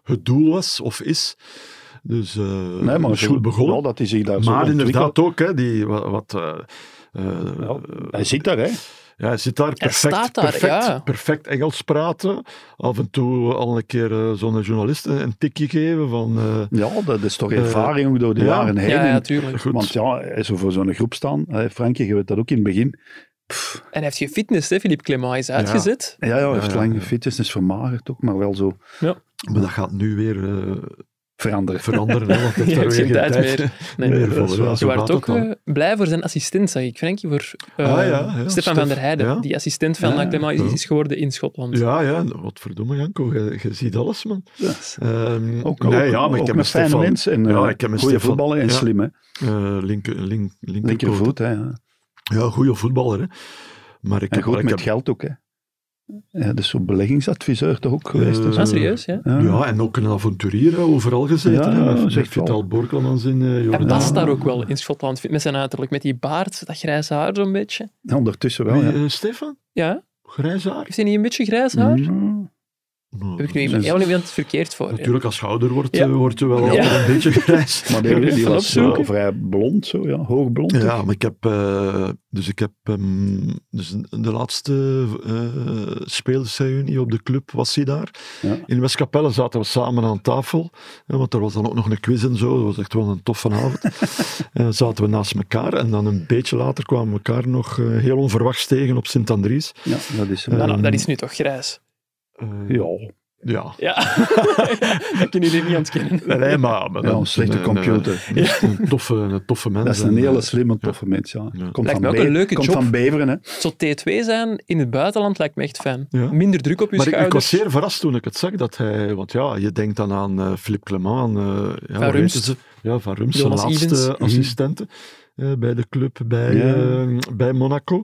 het doel was, of is. Dus eh
Nee, maar
is goed begonnen.
Wel dat hij zich daar zo
maar
ontwikkelt.
inderdaad ook, hè, die, wat... wat eh, eh,
Ja, hij zit daar, hè?
ja, hij zit daar perfect,
staat daar,
perfect,
ja.
perfect Engels praten. Af en toe al een keer eh, zo'n journalist een, een tikje geven van... eh,
Ja, dat is toch
Eh,
ervaring ook door de
ja.
jaren heen.
Ja,
En-
ja, tuurlijk.
goed.
Want ja, hij zou voor zo'n groep staan. Hè, Frankie, je weet dat ook in het begin.
En hij heeft gefitnessd, hè? Philippe Clement Hij is uitgezet.
Ja, ja, hij heeft
Ja, ja,
lang
ja.
gefitness, is vermagerd ook, maar wel zo
maar dat gaat nu weer eh,
veranderen.
veranderen. Hè, want het heeft
Je
daar
hebt
weer
geen tijd meer. Nee.
meer voor,
dat is
hè,
waar.
zo
Je
gaat
werd
dat
ook
dan.
eh, blij voor zijn assistent, zag ik, Frankie. Voor eh,
Ah, ja, ja,
Stefan
Stef,
van der Heijden,
ja.
die assistent van
Ja,
ja.
ja, is, is geworden in Schotland.
Ja, ja, wat verdomme Janko, je, je ziet alles, man. Ehm,
Ook,
nee,
ook-
ja, maar
ook
ik heb een
met fijne
Stefan,
mensen en
Ja,
eh,
ik heb een
goede
Stefan.
voetballen en
Ja.
slim, hè?
eh, linker, link, linker,
Linkervoet, hè? ja.
Ja, goede voetballer. Hè. Maar ik
En
heb,
goed
ik
met
heb-
geld ook, hè? Ja, dus zo'n beleggingsadviseur toch ook geweest?
Eh,
en zo.
Ah, serieus, ja?
ja.
ja, en ook een avonturier hè, overal gezeten.
Ja,
hè, met- met
zegt
Vital
wel.
Borkelmans in eh
Hij
Jordaan.
past daar ook wel in Schotland, vind- met zijn uiterlijk, met die baard, dat grijze haar zo'n beetje.
Ja, ondertussen wel,
Wie,
ja.
eh, Stefan?
Ja,
Grijs haar?
heeft hij niet een beetje grijs haar?
Mm.
Nou,
Heb ik nu
dat-
iemand,
Dus-
helemaal iemand verkeerd voor? ja.
Natuurlijk, als je ouder wordt,
Ja.
eh, word je wel
Ja.
altijd een beetje grijs.
Maar die, die
Even
was eh,
opzoeken.
vrij blond, zo, ja. hoogblond.
Ja, maar ik heb, eh, dus ik heb ehm, dus de laatste eh speelserunie op de club was hij daar.
Ja.
In Westkapelle zaten we samen aan tafel, hè, want er was dan ook nog een quiz en zo. Dat was echt wel een toffe avond. Eh, zaten we naast elkaar en dan een beetje later kwamen we elkaar nog eh, heel onverwachts tegen op Sint-Andries.
Ah,
Ja, dat is hem.
Ja.
Nou, nou, dat is nu toch grijs.
Eh,
Ja,
ja.
Ja, dat kunnen jullie niet ontkennen.
Nee, nee, maar... maar eh,
ja
dat
een
is
slechte
een-
computer.
Een, een toffe, een toffe mens.
Dat is een
En,
hele
eh,
slimme, toffe mens. Ja.
Ja.
Komt,
Lijkt
van,
me ook een leuke
komt
job.
van Beveren, hè?
Zo T2 zijn in het buitenland lijkt me echt fijn.
Ja.
Minder druk op je
Maar ik, ik was
schouders.
zeer verrast toen ik het zag dat hij, want ja, je denkt dan aan eh Philippe Clement, aan, eh, ja,
Van
hoe heet
Rumst.
het? ja, van Rums, zijn
Jonas
laatste
Ivens. Mhm.
assistente eh, bij de club bij,
Ja.
eh, bij Monaco.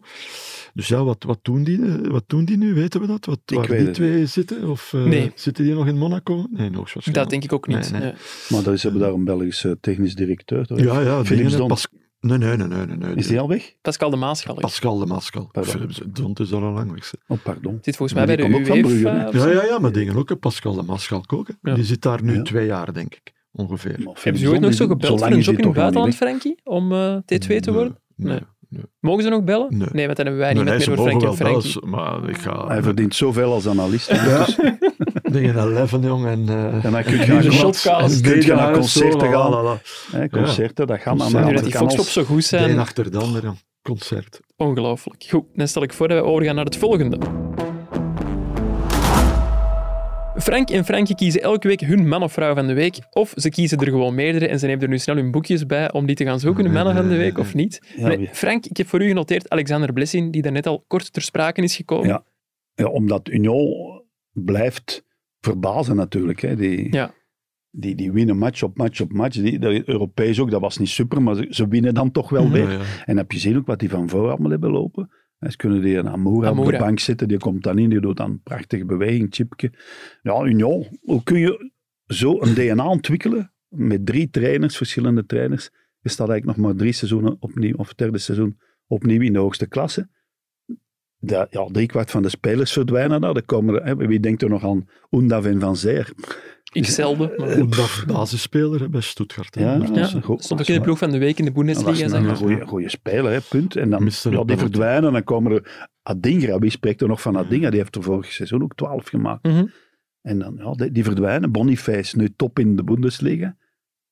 Dus ja, wat, wat, doen die, eh, wat doen die nu? Weten we dat? Wat,
Ik
waar
weet
die
het
twee zitten? Of eh,
Nee.
zitten die nog in Monaco? Nee, nog waarschijnlijk.
Dat denk ik ook niet.
Nee, nee.
Ja.
Maar daar is, hebben we daar een Belgische technisch directeur. toch?
Ja, ja.
Philips
dingen,
Dont.
Pas- nee, nee, nee, nee. nee, nee.
Is die al weg?
Pascal de Maaschaller.
Pascal de Maascal.
Pardon.
Philips Dont is al lang weg. zeg.
Oh, pardon.
Zit volgens mij
Maar
bij de
die komt ook van Brugge, hè?
UEFA. of
Ja,
zo.
ja, ja, maar dingen ook. hè. Pascal de Maascal ook. hè.
Ja.
Die zit daar nu
Ja.
twee jaar, denk ik, ongeveer.
Maar
Hebben
Philips
ze ooit nog
Dont
zo
is-
gebeld voor
lang
een
is
job
die
in het
toch al
buitenland,
niet
Frankie? Om eh, T2 te
Nee,
worden?
Nee.
Nee. Mogen ze nog bellen?
Nee.
want dan hebben wij
Nee,
niemand
nee, ze
meer voor
mogen
Frankie
wel
en
bellen, ze-
Frankie.
maar ik ga...
weg. Hij verdient zoveel als analist. hè, dus-
Dingen 11, jong, en... eh,
En dan kun je
hier
naar,
een
shot
concerten-
shotcast,
en
en
kun je
Dena
naar
en
concerten
zo, la,
gaan.
la, la.
Hè, concerten, dat gaan allemaal.
Ja,
Nu
maar
dat
dat
die
kan als-
Foxcops zo goed
De een
zijn,
achter de ander, ja. Concert.
ongelooflijk. Goed, dan stel ik voor dat we overgaan naar het volgende. Frank en Frankie kiezen elke week hun man of vrouw van de week. Of ze kiezen er gewoon meerdere en ze nemen er nu snel hun boekjes bij om die te gaan zoeken, hun mannen van de week of niet.
Ja,
Nee,
wie-
Frank, ik heb voor u genoteerd Alexander Blessing, die daarnet al kort ter sprake is gekomen.
Ja. Ja, omdat Union blijft verbazen natuurlijk. Hè. Die,
Ja.
die, die winnen match op match op match. Die, de Europees ook, dat was niet super, maar ze, ze winnen dan toch wel
Mhm.
weer.
Ja, ja.
En heb je gezien ook wat die van voor allemaal hebben lopen? Hè, Ze kunnen die een Amoura, op
Amoura.
de bank zitten, die komt dan in, die doet dan een prachtige beweging, chipje. Ja, Union, hoe kun je zo een DNA ontwikkelen met drie trainers, verschillende trainers? Je staat eigenlijk nog maar drie seizoenen opnieuw, of derde seizoen opnieuw in de hoogste klasse. De, ja, driekwart van de spelers verdwijnen daar. Er komen er- hè, wie denkt er nog aan Oendaf en Van Zeer?
Ik zelden. maar-
Eh,
Goed, dat basisspeler hè, bij Stuttgart. hè.
Ja,
Maar-
dat is een
Ja,
goed-
stond ook in de ploeg van de week in de
Dat was
Bundesliga. eh, zeg
een,
maar.
maar.
goede, goede speler, hè, punt. En dan
Miste
ja,
een
die
penalty.
verdwijnen en dan komen er Adingra. Wie spreekt er nog van Adingra? Die heeft er vorig seizoen ook 12 gemaakt.
Mhm.
En dan, ja, die, die verdwijnen. Boniface nu top in de Bundesliga.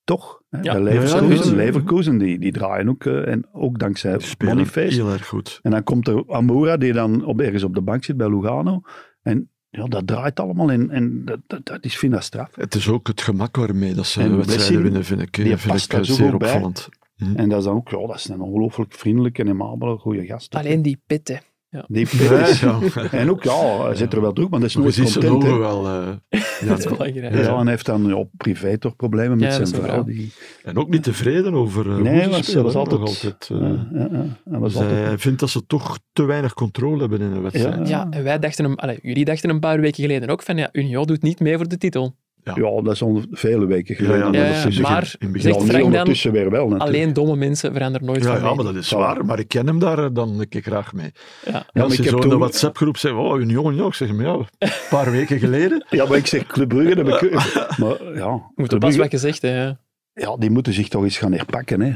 Toch? Hè?
Ja.
Bij
Ja,
Leverkusen.
ja, ja, ja.
Leverkusen, die, die draaien ook. eh, en ook dankzij
Die spelen
Boniface.
heel erg goed.
En dan komt er Amoura, die dan op, ergens op de bank zit bij Lugano. En ja, dat draait allemaal. En, en dat, dat, dat is, vind dat straf.
Het is ook het gemak waarmee dat ze
En Blessing,
wedstrijden winnen, vind ik. hè.
die
vind
past
ik
daar
eh,
zo
zeer
goed bij.
opvallend.
En dat is dan ook, ja, dat is een ongelooflijk vriendelijke en amabele, goede gast. ook, hè.
Alleen die pitten.
Die
Ja,
Perez.
ja.
En ook, ja, hij zit er wel druk, maar dat is nooit
Precies, zijn
content. hè.
ogen wel. eh, ja.
Dat is belangrijk.
Ja,
Ja.
en hij heeft dan ja, op privé toch problemen met
Ja, dat
zijn
is een
vrouw. Die,
En ook niet tevreden over eh,
nee,
hoe ze
hij was, hij
spelen,
was
hè.
altijd...
Nog altijd,
ja,
eh,
ja, ja, hij was
zij
altijd...
vindt dat ze toch te weinig controle hebben in een wedstrijd.
Ja.
Ja, en wij dachten, hem- allee, jullie dachten een paar weken geleden ook van ja, Union doet niet mee voor de titel.
Ja, dat is al vele weken
Ja, ja,
geleden.
dat
Ja,
is in het
ja,
begin-
maar
in het begin
zegt
al
nu
Frank dan,
ondertussen weer wel, natuurlijk.
alleen domme mensen veranderen nooit
Ja,
van
ja,
mening.
maar dat is
Voilà.
waar. Maar ik ken hem daar eh, dan een keer graag mee.
Ja,
Ja.
Ja,
maar
als
ik
je
heb
zo in
toen-
de WhatsApp-groep zegt, oh, Union, ja, ik zeg maar, ja, een paar weken geleden.
Ja, maar ik zeg Club Brugge, dat heb ik... Maar ja,
Je moet er
Club
pas
Brugge,
wat gezegd hè. ja.
ja, die moeten zich toch eens gaan herpakken, hè.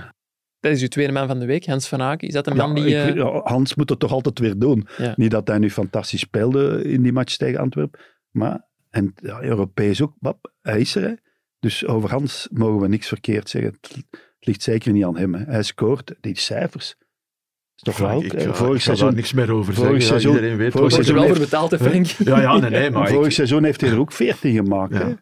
Dat is uw tweede man van de week, Hans van Aken. Is dat een
Ja,
man die...
ik-
eh,
ja, Hans moet het toch altijd weer doen.
Ja.
Niet dat hij nu fantastisch speelde in die match tegen Antwerpen. Maar, en ja, Europees ook, bap, hij is er. Hè. Dus over Hans mogen we niks verkeerd zeggen. Het, het ligt zeker niet aan hem. Hè. Hij scoort die cijfers. Is toch wel?
ik,
hè,
ga- ik
vorig
ga daar
seizoen.
niks meer over
vorig
zeggen. Ja,
seizoen-
iedereen weet
vorig
wat
Wordt er
ik-
seizoen
wel voor
heeft-
betaald, hè, Frank?
Ja, ja, nee, nee, maar
vorig
ik-
seizoen heeft hij er ook 14 gemaakt.
Ja.
Hè.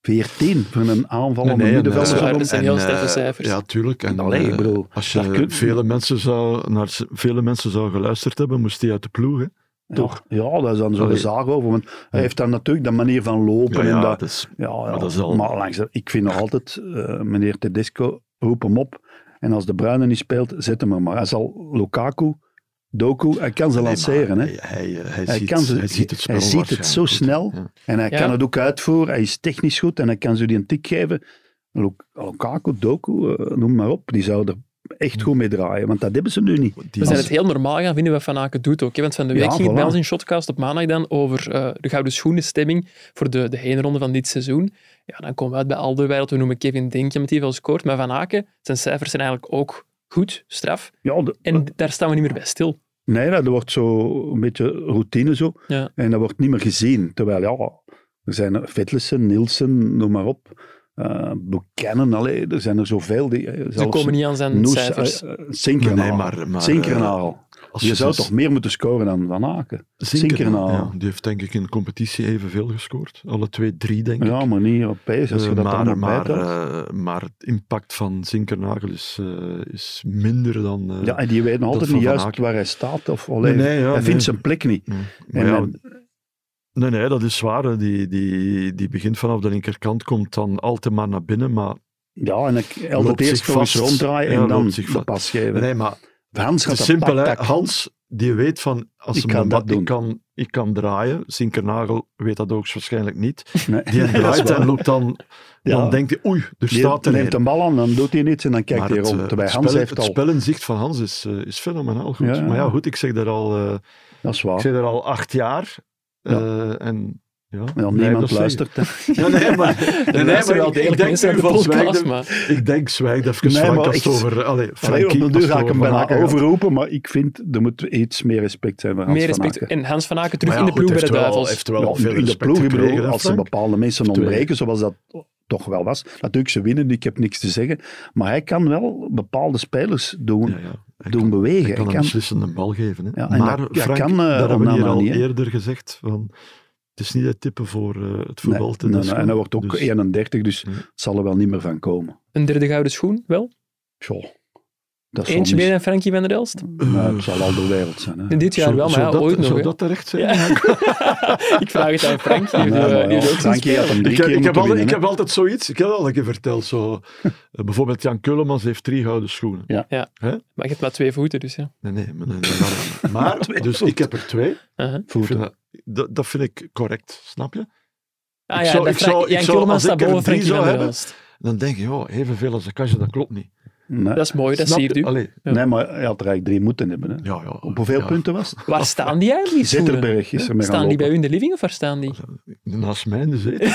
14 van een aanval
Nee,
om
nee,
een
en,
middenvelder.
eh,
zo
waar,
om-
dat zijn
en,
heel
eh,
sterke cijfers.
Ja, tuurlijk. En,
Allee, ik
eh,
bedoel,
als je
daar kun-
vele mensen zou, naar z- vele mensen zou geluisterd hebben, moest hij uit de ploeg. Hè. toch?
Ja, ja, daar is dan zo'n
Allee.
zaag over. Want hij heeft dan natuurlijk de manier van lopen. en dat,
dat is,
Ja, ja. Maar,
Maar dat is al-
langs de- ik vind nog altijd, eh, meneer Tedesco, roep hem op. En als de Bruyne niet speelt, zet hem er maar. Hij zal Lukaku, Doku, hij kan ze
nee,
lanceren.
maar
Hè.
Hij, eh, hij,
Hij
ziet,
kan ze-
hij ziet het spel
hij ziet het zo
waarschijnlijk
snel.
goed. Ja.
En hij
Ja.
kan het ook uitvoeren. Hij is technisch goed en hij kan ze die een tik geven. Lu- Lukaku, Doku, eh, noem maar op. Die zou er echt goed mee draaien. Want dat hebben ze nu niet.
Die
We zijn
is-
het heel normaal gaan vinden wat Van Aken doet ook. Hè? Want van de week
Ja,
ging het bij
voilà.
ons in Shotcast op maandag dan over eh, de gouden schoenen stemming voor de, de heenronde van dit seizoen. Ja, dan komen we uit bij Alderweireld. We noemen Kevin Denkje met die veel scoort. Maar Van Aken, zijn cijfers zijn eigenlijk ook goed, straf.
Ja, de-
En daar staan we niet meer bij stil.
Nee, dat wordt zo een beetje routine zo.
Ja.
En dat wordt niet meer gezien. Terwijl, ja, er zijn er Vettelsen, Nielsen, noem maar op. eh Buchanan, allee, er zijn er zoveel. Die, eh,
Ze
zelfs
komen niet aan zijn
Noes,
cijfers.
eh, eh, Sinkenaar.
Nee, maar- maar,
Sinkenaar.
Als dus-
Je zou
zes-
toch meer moeten scoren dan Van Aken? Zinkernagel.
Ja, die heeft denk ik in de competitie evenveel gescoord. Alle twee, drie denk ik.
Ja, maar niet Europees. Als je
Eh,
dat
maar,
allemaal
maar,
bijtelt.
eh, maar het impact van Zinkernagel is, eh, is minder dan... eh,
ja, en die weet nog
dat
altijd
van
niet
Van
juist
Aken.
waar hij staat. Of, allee,
Nee, nee, ja,
hij vindt
nee.
zijn plek niet.
ja.
En
Maar ja,
dan-
Nee, nee, dat is zwaar. hè. Die, die, die begint vanaf de linkerkant, komt dan altijd maar naar binnen. Maar,
ja, en ik altijd
Loopt
eerst
zich
nog eens
vast.
ronddraaien
Ja,
en dan
loopt zich
de
vast.
pas geven.
nee, maar
Hans
het
gaat
is
dat
simpel.
tak,
hè.
tak.
Hans, die weet van, als
Ik
hem
kan
een
dat
bal-
doen.
Ik, kan, ik kan draaien. Zinkernagel weet dat ook waarschijnlijk niet.
Nee.
Die
Nee, dat is
draait
waar.
en loopt dan...
Ja.
Dan denkt hij, oei, er
Die
staat er
neemt een bal aan, dan doet hij niets en dan kijkt
Maar
hij
het,
rond.
eh,
Terwijl
het
Hans
spel-
heeft
Het
al...
spelinzicht van Hans is, eh, is fenomenaal goed.
Ja. Ah.
Maar ja, goed, ik zeg dat al, eh,
Dat is
ik
waar.
zeg dat al acht jaar. eh, en, ja,
Ja,
blijf dat
niemand
zeggen.
luistert. hè.
Ja, nee, maar, nee, nee, maar ik, ik denk nu van
podcast,
zwijg,
maar...
ik denk zwijg even
Nee,
Frank
maar
als
echt.
het over... Allee,
Allee,
Frankie, als
op de deur
het
ga ik hem
over Van
bijna
Aken gaat.
overroepen, maar ik vind er moet iets meer respect zijn voor Hans
Meer
van
respect.
Aken.
En Hans van Aken terug
Maar ja,
in de
goed,
ploeg bij de
heeft wel-
Duivels.
heeft wel
Ja,
veel
in de
respect
ploeg, ik bedoel,
gekregen, hè,
als ze
Frank?
bepaalde mensen
Twee.
ontbreken, zoals dat toch wel was. Natuurlijk, ze winnen, ik heb niks te zeggen. Maar hij kan wel bepaalde spelers doen,
Ja, ja. Hij
doen
kan-
bewegen.
Hij kan
Hij
een
kan-
beslissende bal geven. Hè.
Ja, en
maar
dat- ja,
Frank,
kan, eh,
dat hebben we
Onana
hier al
niet, hè?
eerder gezegd. Van, het is niet het tippen voor eh, het
Nee,
voetbal te
nee, nee,
deskundigen.
en hij wordt ook
Dus-
31, dus
Ja.
het zal er wel niet meer van komen.
Een derde gouden schoen, wel.
Tjoh, dat zal
Eentje
niet-
meer dan Frankie van der Elst.
Nou, het zal al de wereld zijn. Hè.
In dit jaar
Zou-
wel, maar
Eh, zou
ja,
dat,
ooit nog.
Zou
hè.
dat terecht zijn?
Ja. ik vraag het aan Frankie.
Nee,
Die
maar
heeft,
ja,
eh, die heeft ook zijn
Frankie had
spel.
hem drie
Ik heb,
keer
ik, heb
moeten
altijd, ik
winnen,
heb altijd zoiets, ik heb dat al een keer verteld. Zo, eh, bijvoorbeeld Jan Kullemans heeft drie gouden schoenen.
Maar je hebt maar twee voeten, dus ja.
Nee, nee, maar, nee, nee, maar- maar dus ik heb er twee.
Uh-huh.
hè. Voeten.
Ik vind dat, dat, dat vind ik correct, snap je?
Ah
Ik
ja,
zou-
dat
ik zou-
Frank-
ik
Jan
zou-
Kulman
als ik
staat
er
boven
drie
Frankie
zou
van der
hebben-
Elst.
Dan denk je, joh, evenveel als een kastje, dat klopt niet.
Nee,
Dat is mooi, dat
Snap
zie je
je?
nu.
Allee,
nee, maar hij had er eigenlijk drie moeten hebben. Hè.
ja, ja,
Op hoeveel
Oh, ja.
punten was het?
Waar staan die eigenlijk? die schoenen?
Zetterberg is er mee gaan
Staan die bij
lopen.
u in de living of waar staan die?
Naast mij in de zetel.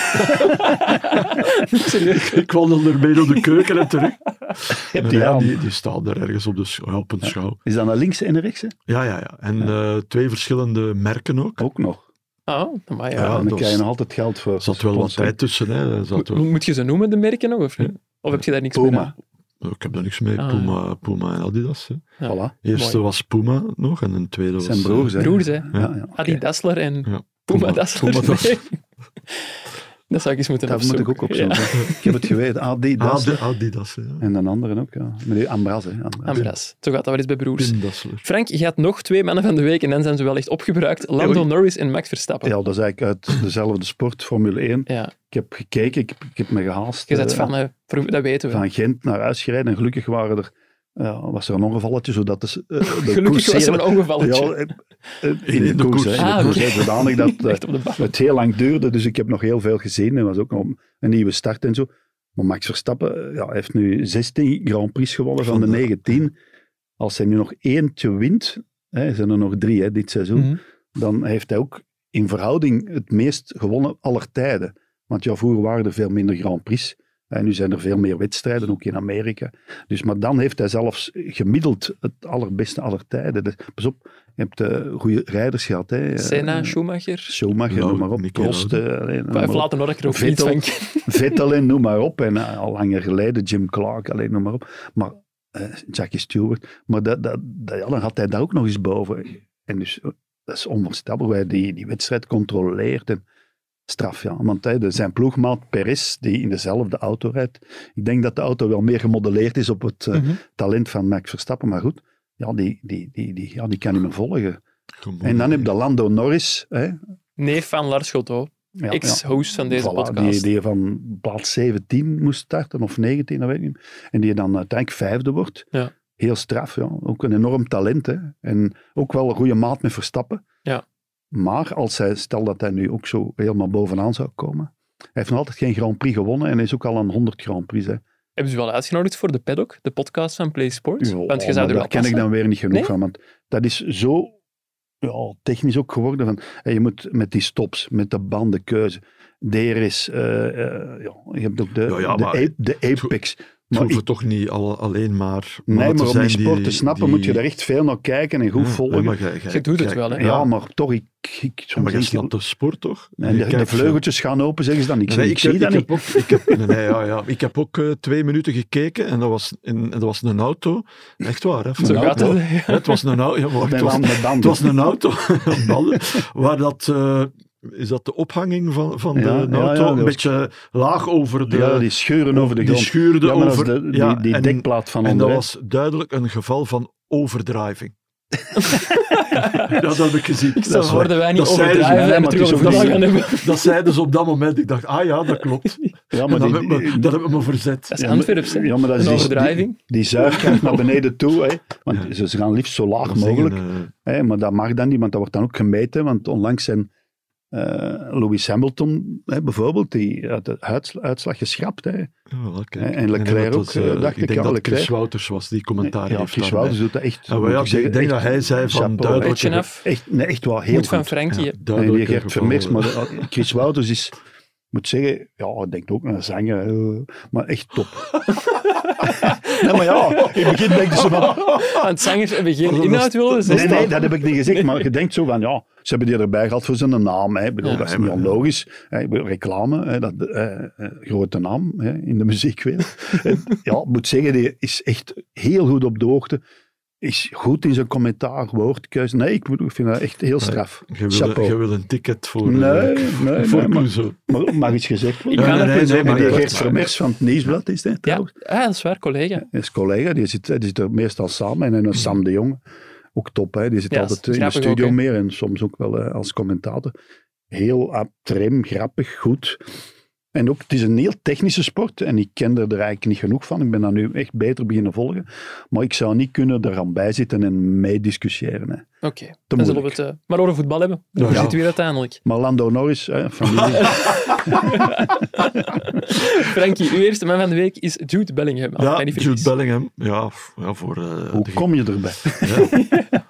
Serieus?
ik wandel ermee door de keuken en terug.
Hebt
En
hij
ja,
aan?
die, die staat daar ergens op, de sch- ja, op een schouw.
Is dat naar links en naar rechts? hè?
Ja, ja, ja. En eh, twee verschillende merken ook.
Ook nog.
Oh, maar ja.
Ja,
en
dat
dan
was-
krijg je nog altijd geld voor.
Er zat wel wat
sponsor.
tijd tussen. Hè. Er Zat
Mo-
wel...
Moet je ze noemen, de merken nog? Of, niet? of heb je daar niks mee?
Puma,
Ik heb daar niks mee.
Ah,
Puma, Puma en Adidas. Hè.
Ja.
voilà.
De eerste was Puma nog en de tweede was...
Zijn broers,
eh,
hè.
Broers, hè?
Ja, ja.
Adi Dassler en
Ja.
Puma
Puma-
Dassler.
Puma Dassler.
Nee. Dat zou ik eens moeten
Dat moet ik ook
opzoeken.
opzoeken. Ik heb het geweten. Ah, die, dat.
Adi- Adidas, hè, ja.
En een andere ook, ja. Meneer Ambras, hè. Ambras.
Ja. Ambras. Zo gaat dat wel eens bij broers.
Pim Dassler.
Frank, je gaat nog twee mannen van de week en dan zijn ze wel echt opgebruikt. Lando
Oei.
Norris en Max Verstappen.
Ja, dat is eigenlijk uit dezelfde sport, Formule 1.
Ja,
Ik heb gekeken, ik heb, ik heb me gehaast.
je bent
eh,
van, eh, voor- dat weten we.
van Gent naar huis gereden. En gelukkig waren er, ja, was er een ongevalletje, zodat de, s- eh, de
Gelukkig was er een ongevalletje.
Ja, eh, eh, in, de koers. hè. In de
Ah,
koers,
oké.
hè, zodanig dat eh,
Echt op de bank.
het heel lang duurde. Dus ik heb nog heel veel gezien. Er was ook nog een nieuwe start en zo. Maar Max Verstappen eh, ja, heeft nu 16 Grand Prix gewonnen van de
Van de-
19. Als hij nu nog eentje wint, hè, zijn er nog drie hè, dit seizoen,
Mhm.
dan heeft hij ook in verhouding het meest gewonnen aller tijden. Want ja, vroeger waren er veel minder Grand Prix. En nu zijn er veel meer wedstrijden, ook in Amerika. Dus, maar dan heeft hij zelfs gemiddeld het allerbeste aller tijden. Dus, pas op, je hebt eh, goede rijders gehad. Hè.
Senna,
Eh,
Schumacher.
Schumacher,
Lauw-
noem maar op.
Nicky
Prost,
Lauda.
eh, allee, noem maar
Vijf
op.
later nog dat ik er ook niet
Vettel. eh,
van ken.
Vettel, en noem maar op. En eh, al langer geleden Jim Clark, alleen noem maar op. Maar eh, Jackie Stewart. Maar dat, dat, dat- ja, dan had hij daar ook nog eens boven. En dus, eh, dat is onvoorstelbaar. Hoe hij die, die wedstrijd controleert. En straf, ja. Want hij, de- zijn ploegmaat Perez, die in dezelfde auto rijdt. Ik denk dat de auto wel meer gemodelleerd is op het eh,
Mhm.
talent van Max Verstappen. Maar goed, ja, die, die, die, die, ja, die kan niet meer volgen.
Gewoon,
En dan
eh,
heb je Lando Norris. Hè?
Neef van Lars Godot,
Ja, ja.
ex-host van deze
Voilà,
podcast.
Die, die van plaats 17 moest starten, of 19, dat weet ik niet. En die dan eh, uiteindelijk vijfde wordt.
Ja.
Heel straf, ja. Ook een enorm talent, hè. En ook wel een goede maat met Verstappen.
Ja.
Maar als hij, stel dat hij nu ook zo helemaal bovenaan zou komen. Hij heeft nog altijd geen Grand Prix gewonnen en hij is ook al aan 100 Grand Prix. Hè.
Hebben ze u wel uitgenodigd voor de paddock, de podcast van Play Sports?
Ja,
Want je
maar
zou er wel
daar ken ik
passen.
dan weer niet genoeg
Nee?
van. Want dat is zo ja, technisch ook geworden. Van, hey, je moet met die stops, met de bandenkeuze, DRS, eh, eh, ja, je hebt ook de,
Ja, ja,
de,
maar-
a- de apex.
Het
Maar
hoeven
ik-
toch niet alle- alleen maar
nee,
mannen
maar
te
om
zijn
die sport te snappen
die-
moet je daar echt veel naar kijken en goed
Ja,
volgen.
maar jij- jij-
Je doet het
jij-
wel, hè?
ja, maar toch, ik... ik soms
Maar jij
denk ik-
snapt de sport toch?
en
Je
de, de
kijkt veel.
vleugeltjes gaan open, zeggen ze dan. Ik,
Nee,
ik, zie
heb-
dat
ik
niet.
heb ook, ik heb, nee, nee, ja, ja. Ik heb ook eh, twee minuten gekeken en dat was, en, en dat was een auto. Echt waar, hè?
Zo
Nou,
gaat het.
Ja,
hè.
Het was een auto. Ja, maar het,
Met
was,
banden, met
het
banden.
was een auto, ballen, waar dat... eh, is dat de ophanging van, van
Ja, ja,
de
ja,
auto?
dat
een
was-
beetje laag over de...
ja, die scheuren over de
die
grond.
schuurde
Ja, maar dat is
over-
de- die,
ja,
die
en-
dekplaat van
En
onder.
dat
hè.
was duidelijk een geval van overdriving. ja, dat heb ik gezien.
Zo
is waar.
worden wij niet
Dat zeiden ze,
overdrijven
nee,
en
maar
het terug
het is
over de
ook
gaan
niet
hebben.
Dat zeiden ze op dat moment. Ik dacht, ah ja, dat klopt.
Ja,
Maar
maar
dat
die,
heb ik me, dat heb ik me verzet.
Dat is
Ja, maar-
Antwerps, hè.
ja, maar dat is
Een
die-
overdrijving.
die zuigkracht naar beneden toe. Hè. Want ze- ze gaan liefst zo laag
Dat is
mogelijk.
een, eh,
Hè, maar dat mag dan niet, want dat wordt dan ook gemeten. Want onlangs zijn eh, Lewis Hamilton hè, bijvoorbeeld, die uit de uitsla- uitslag geschrapt. Hè.
eh, ja, wel, kijk.
En- en Leclerc
maar dat
ook,
is, eh,
eh, dacht ik,
denk
ja,
dat
Leclerc.
Chris Wouters was die commentaar
ja,
heeft.
Chris
daarbij.
Wouters doet dat echt.
Ja, maar
moet
ja,
ik
ik
zeggen,
denk dat
echt
hij zei van
chapeau.
duidelijk-
Beetje af.
Echt, nee, echt wel heel
Moet van
goed.
Frankie.
Ja,
hè.
En
duidelijk
die Gert
gevallen.
Vermeers, maar dat- Chris Wouters is, moet zeggen, ja, ik denk ook naar zanger, eh, maar echt top. nee, maar ja, in het begin denk je zo van,
Want zangers hebben geen
dat is-
inhoud willen. dus ze
Nee, nee,
staan-
dat heb ik niet gezegd. Maar je denkt zo van, ja, ze hebben die erbij gehad voor zijn naam. Hè. Ik bedoel,
Ja,
dat is
ja,
niet
maar-
onlogisch. Hè. Ik bedoel, Reclame, hè, dat, eh, eh, grote naam hè, in de muziekwereld. En ja, ik moet zeggen, die is echt heel goed op de hoogte. Is goed in zijn commentaar, woordkeuze. Nee, ik bedoel, ik vind dat echt heel straf.
Je wil,
Chapeau.
je wil een ticket voor, eh,
Nee, nee,
voor
nee, maar-
Clouseau.
maar mag iets gezegd
Ik
worden?
Ja,
kan
nee,
het niet
nee, nee,
zo.
En
maar
die
dat-
Geert Vermers van het Nieuwsblad is het,
Ja,
trouwens.
ah, dat is waar, collega.
Dat is collega, die zit, die zit er meestal samen. En, en Sam de Jong, ook top. Hè? Die zit
Mhm. Ja,
altijd in de
grappig
studio
ook, hè.
meer en soms ook wel eh, als commentator. Heel ah, trim, grappig, goed. En ook, het is een heel technische sport en ik ken er, er eigenlijk niet genoeg van. Ik ben daar nu echt beter beginnen volgen. Maar ik zou niet kunnen er aan bij zitten en mee discussiëren. Hè.
Oké, dan zullen we
moeilijk.
het eh, maar over voetbal hebben. Daar
Ja.
zitten we weer uiteindelijk.
Maar Lando Norris, hè, familie,
Frankie, uw eerste man van de week is Jude Bellingham. als
Ja,
mij niet
Jude
vergis.
Bellingham. Ja, f- ja voor... eh,
Ah, hoe
de-
kom je erbij?
ja.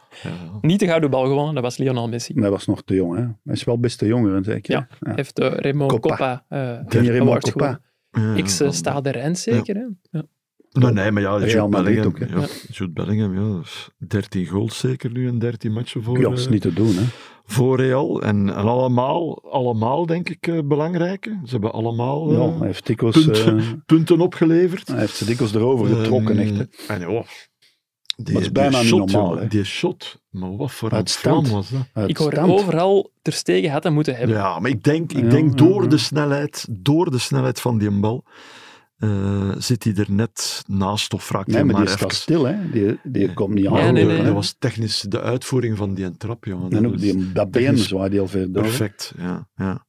Niet de gouden bal gewonnen, dat was Lionel Messi.
Hij was nog te jong, hè? Hij is wel best te jonger, zeker.
Ja, heeft eh, Raymond
Coppa.
Coppa, eh
Ken je Raymond
award
Coppa?
gewonnen.
Ja,
Ik
ja.
eh, sta de Rijn zeker. hè? Ja.
Nee, nee, maar ja,
Real
Jude
Madrid
Bellingham.
ook, hè.
ja, Jude Bellingham, ja. dus 13 goals zeker nu en 13 matchen voor,
Ja, dat is
eh,
niet te doen, hè?
voor Real. En, en allemaal, allemaal, denk ik, eh, belangrijke. Ze hebben allemaal eh,
Ja, hij heeft dikwijls...
punten,
eh,
punten opgeleverd.
Hij heeft ze dikwijls erover getrokken, echt. hè.
Ehm, En ja, die,
Dat is bijna
die
niet
shot,
normaal,
jongen,
hè.
Die shot, maar wat voor een
Uitstand.
vlam was dat?
Uit
Ik hoor
stand.
overal ter stegen had dat moeten hebben.
Ja, maar ik denk, ik
Ja,
denk
Mhm,
ja,
door
ja.
de snelheid, door de snelheid van die bal, eh, zit hij er net naast of raakt
Nee,
hij
maar die
even.
staat stil, hè. Die, die komt niet aan.
Ja, nee, nee.
Dat was technisch de uitvoering van die trap, jongen.
En
dat
ook
is
die, dat been
technisch
zwaait heel ver door.
Perfect, ja, ja.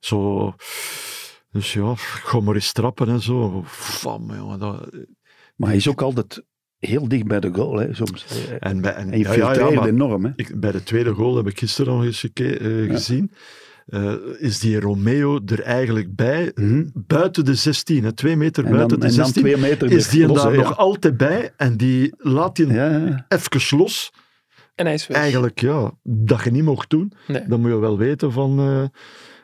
Zo, dus ja, ga maar eens trappen en zo. Fam, jongen. Dat,
Maar hij is ook altijd heel dicht bij de goal, hè, soms. Hij
en bij, en, ja, ja, ja,
infiltreert
maar
enorm, hè.
ik, bij de tweede goal heb ik gisteren nog eens geke- eh, gezien. eh, is die Romeo er eigenlijk bij?
Mhm.
Buiten de 16, hè, twee meter
En
buiten
dan, en
de
dan
16.
twee meter
is die
er
hem
los,
daar
hè,
nog altijd bij en die laat die
Ja, ja, ja.
even los.
En hij is weg.
Eigenlijk, ja, dat je niet mocht doen.
Nee.
Dan moet je wel weten van, eh,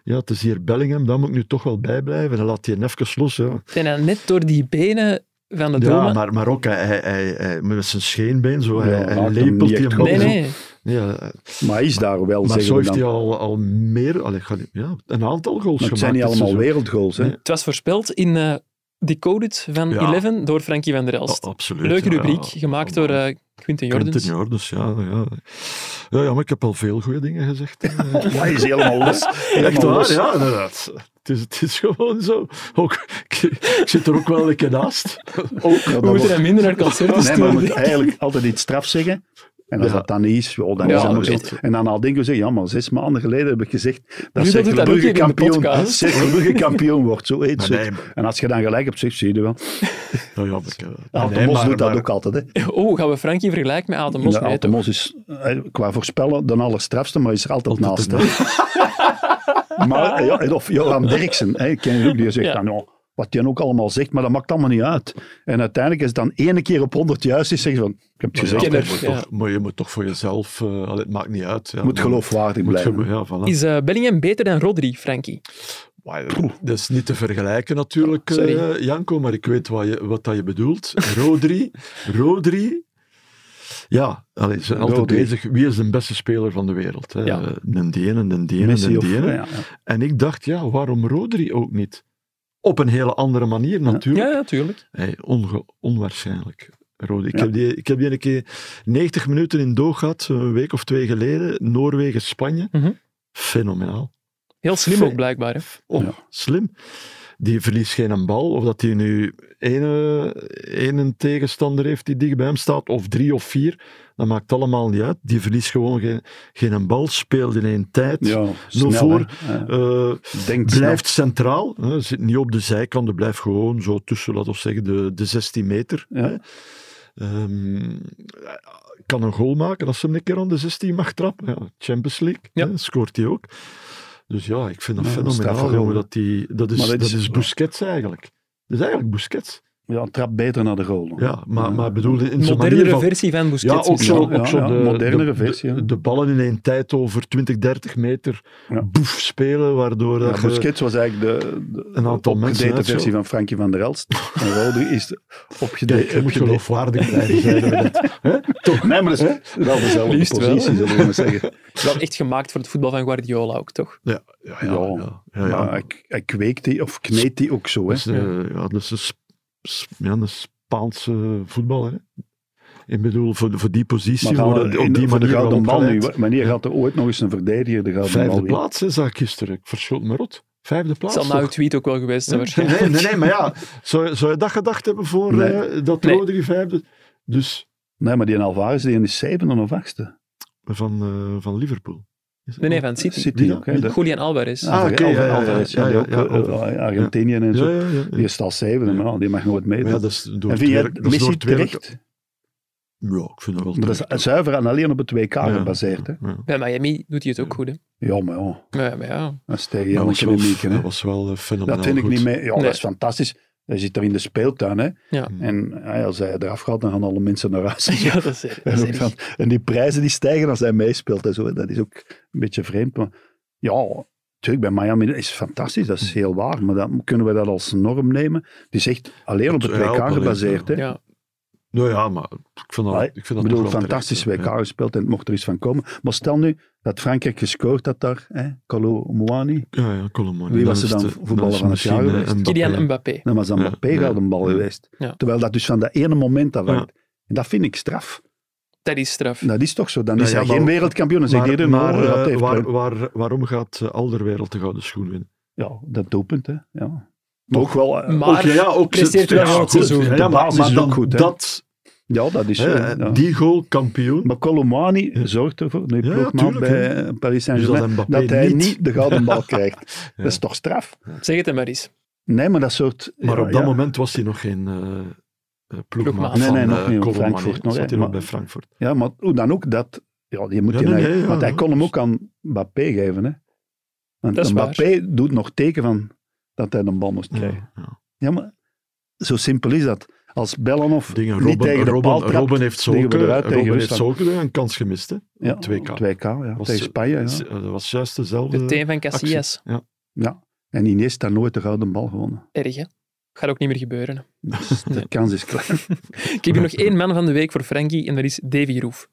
ja, het is hier Bellingham, daar moet ik nu toch wel bij blijven. Dan laat hij hem even los, ja.
En dan net door die benen van de
Ja,
doelman.
maar, maar ook hij, hij, hij, hij- met zijn scheenbeen, zo, hij,
Ja,
hij
maakt hem
lepelt
niet
die
echt
bal.
Nee,
zo.
nee.
Ja, eh,
Maar hij is daar wel,
maar
zeggen
zo
we
heeft
dan.
hij al,
Maar
al meer, allee, ga- ja, een aantal goals
het
gemaakt. dus
zijn niet
dit
allemaal
seizoen.
wereldgoals, hè.
Nee.
Het was voorspeld in eh Decoded van
Ja.
11 door Frankie van der Elst.
Oh, absoluut.
Leuke
ja,
rubriek,
ja.
gemaakt door eh, Quinten Jordens.
Quinten Jordens, dus ja, ja. ja. Ja, maar ik heb al veel goede dingen gezegd. eh.
Hij is helemaal los.
Echt
Helemaal
waar,
los.
ja, inderdaad. Het is, het is gewoon zo. Ook, ik, ik zit er ook wel een keer naast. Ook,
Ja,
We
dat
moeten
wordt-
hem minder naar concerten
Nee, maar
sturen.
je moet eigenlijk altijd iets straf zeggen. En als
Ja.
dat dan niet is, joh, dan
Ja,
is dat maar
dat
zo.
weet je.
En dan al denk je, ja, maar zes maanden geleden heb ik gezegd dat
doet
Cercle
dat ook
Brugge
hier in de
kampioen,
podcast.
Cercle Brugge kampioen wordt. Zo heet
Maar
ze.
nee,
het.
maar-
En als je dan gelijk hebt, zeg, zie je wel.
Nou ja, maar ik, eh,
Aad de
nee,
Mos
maar-
doet dat
maar-
ook altijd. Hè.
Oh, gaan we Frankie vergelijken met Adam Mos?
Ja,
Nee,
Aad de
toch?
Mos is eh, qua voorspellen de allerstrafste, maar is er altijd,
Altijd
naast. hè. maar, eh, ja, en of Johan Derksen, hè, ik ken je ook, die zegt
Ja.
dan, "Ja, wat die ook allemaal zegt, maar dat maakt allemaal niet uit. En uiteindelijk is het dan ene keer op honderd juist, is zeggen ze van, ik heb het
maar ja,
gezegd.
Kenner,
je moet
ja.
toch- Maar je moet toch voor jezelf... eh, allee, het maakt niet uit. Ja,
Moet
maar-
geloofwaardig
moet
blijven.
ge- ja, voilà.
Is eh, Bellingham beter dan Rodri, Frankie?
Wauw, Dat is niet te vergelijken natuurlijk, eh,
Sorry.
Janko, maar ik weet wat, je, wat dat je bedoelt. Rodri, Rodri, ja, allee, ze zijn altijd
Rodri.
bezig. Wie is de beste speler van de wereld? Hè?
Ja.
Eh, Den Dene, den Dene,
Messi
den
of... eh,
Dene.
Ja, ja.
En ik dacht, ja, waarom Rodri ook niet? Op een hele andere manier natuurlijk.
Ja, natuurlijk.
Hey, onge- onwaarschijnlijk. Rode. Ik,
Ja.
heb die, ik heb die een keer 90 minuten in Doha gehad, een week of twee geleden. Noorwegen, Spanje.
Mhm.
Fenomenaal.
Heel slim ook blijkbaar. Hè.
Oh,
Ja.
slim. Die verliest geen een bal. Of dat hij nu ene, ene tegenstander heeft die dicht bij hem staat. Of drie of vier. Dat maakt allemaal niet uit. Die verliest gewoon geen, geen een bal. Speelt in één tijd.
Ja,
Zo
snel,
voor.
hè. Ja.
Eh,
Denkt
blijft centraal, hè, zit niet op de zijkant, er blijft gewoon zo tussen, laten we zeggen, de, de 16 meter.
Ja.
hè. Ehm, kan een goal maken als ze hem een keer aan de 16 mag trappen. Ja, Champions League,
Ja.
hè, scoort hij ook. Dus ja, ik vind dat
Ja, straffe
fenomenaal,
goal,
jongen,
hè.
dat, die, dat, is,
Maar
dat,
dat
is,
is-
Busquets eigenlijk. Dat is eigenlijk Busquets.
snel. Ja, trap beter naar de goal. dan.
Ja, maar, maar bedoel, in zijn manier
Modernere
van...
versie van
Ja,
Busquets.
ook
misschien.
zo,
ja,
ook zo
ja,
de,
modernere
de-
versie, ja.
de, de ballen in één tijd over 20, 30 meter
Ja.
boef spelen, waardoor
Ja,
dat je-
Busquets was eigenlijk de, de
Een aantal mensen,
opgedate
hè, zo.
versie van Frankie van der Elst. En Rodri is de opgedate.
Kijk, je moet
opgedate-
geloofwaardig blijven, zeiden we net.
Toch? Nee, maar dat is wel dezelfde
Liefst wel.
positie, zullen we maar zeggen.
Wel echt gemaakt voor het voetbal van Guardiola ook, toch?
Ja, ja, ja.
Ja.
ja, ja,
Maar
ja.
hij, hij kweekt die, of kneedt die ook zo.
Dat
Hè.
is, eh, ja, dat is een, Sp- Sp- ja, een Spaanse voetballer. Hè? Ik bedoel, voor, voor die positie,
Maar gaan we
worden
in-
op die
voor de
manier wel
gouden bal nu.
opgeleid.
Wanneer gaat er ooit nog eens een verdediger de gouden
Vijfde
bal winnen?
plaats, hè, zag ik gisteren. Ik verschoot me rot. Vijfde plaats.
Zal nou uw
toch?
tweet ook wel geweest zijn
nee,
waarschijnlijk.
nee, nee, maar ja. Zou, zou je dat gedacht hebben voor
Nee.
eh, dat
Nee.
Rodri vijfde? Dus
Nee, maar die Alvarez die is zevende of achtste.
van, eh, van Liverpool. Is het
Nee, nee,
wel?
van City.
City
Ja,
ook. Hè, de-
Julian Alvarez.
Ah, oké,
Alvarez,
ja, ja,
Alvarez,
ja,
die
ja,
ook,
ja,
eh, Argentinië en zo.
Ja, ja, ja.
Die staat zevende, maar ja, die mag nooit meedoen.
Maar ja, dat is door
en
het
vind jij
werk- dat is door
Messi
het werk-
terecht?
Ja, ik vind dat wel
Maar dat
terecht.
is zuiver en alleen op het WK
Ja.
gebaseerd. Hè.
Ja.
Bij Miami doet hij het ook goed, hè?
Ja, maar ja,
Ja, maar ja.
dat is tegen
Dat
Jan
was wel,
Kinemieken.
dat
hè.
was wel eh, fenomenaal
Dat vind ik
goed.
niet mee. Ja,
Nee.
dat is fantastisch. Hij zit er in de speeltuin. Hè.
Ja.
En ja, als hij eraf gaat, dan gaan alle mensen naar huis.
ja, dat is, dat is
En, ook
erg.
van- en die prijzen die stijgen als hij meespeelt. En zo, dat is ook een beetje vreemd. Maar ja, natuurlijk, bij Miami is het fantastisch. Dat is
Hm.
heel waar. Maar dan kunnen we dat als norm nemen. Die is echt alleen op het
Ja, op
WK
alleen,
gebaseerd.
ja.
Hè.
Ja.
Nou ja, maar ik vind dat,
Maar
ik vind dat
Ik
toch
bedoel,
wel
fantastisch
terecht,
WK
hè.
gespeeld en het mocht er iets van komen. Maar stel nu dat Frankrijk gescoord had daar, hè, Kolo Mouani.
Ja, ja, Colomani.
Wie was er dan voetballer van het jaar geweest?
Kylian Mbappé.
Dan was dat
Ja,
Mbappé
ja,
gouden bal
ja.
geweest.
Ja.
Terwijl dat dus van dat ene moment afhangt.
Ja.
En dat vind ik straf.
Dat is straf.
Dat is toch zo. Dan
Nou
is
ja,
hij
maar-
geen wereldkampioen. Dan zegt
Maar,
iedereen,
maar
oh,
eh,
dat heeft
waar,
hem.
waar, waarom gaat eh, Alderwereld de gouden schoen winnen?
Ja, dat doelpunt, hè. Ja. Maar ook wel... eh,
Maar
ook
presteert wel wel het seizoen.
Ja,
De
maar,
basis
maar
is
dan
ook goed, hè.
dat,
ja, dat is zo.
hè,
ja.
die goal kampioen.
Maar Colomani zorgt ervoor, nu
Ja, ja,
ploegmaat
tuurlijk,
bij eh, Paris Saint-Germain,
Dus dat
dat,
Mbappé
hij
niet-
niet, de gouden bal krijgt.
Ja.
Dat is toch straf?
Zeg het hem maar eens.
Nee, maar dat soort...
Maar
ja,
op dat
ja.
moment was hij nog geen eh, eh, ploegmaat
Ploegmaat.
Nee,
van
nee, nog
eh,
niet, op
Colomani,
Frankfurt nog, hè.
Zat hij nog
Maar-
bij Frankfurt.
Ja, maar hoe dan ook, dat... Ja, die moet
Ja,
je
nee,
naar-
nee, ja,
Want hij
ja.
kon hem ook aan Mbappé geven, hè. Want
Dat is waar.
Mbappé doet nog teken van dat hij een bal moest
Ja,
krijgen.
ja.
Ja, maar zo simpel is dat. Als Bellanov
Dingen,
niet
Robin,
tegen de
Robin,
paal trapt,
Robin heeft zo
liggen we eruit tegen
Robin heeft
Rusland.
zo een kans gemist. Hè.
ja,
2K.
2K, ja.
Was-
tegen Spanje, ja.
Dat was juist
De
dezelfde...
teen van Casillas.
ja. En Iniesta nooit de gouden bal gewonnen.
Erg, hè? Gaat ook niet meer gebeuren. hè.
Dus de kans is klein.
Ik heb hier nog één man van de week voor Frankie en dat is Davy Roef.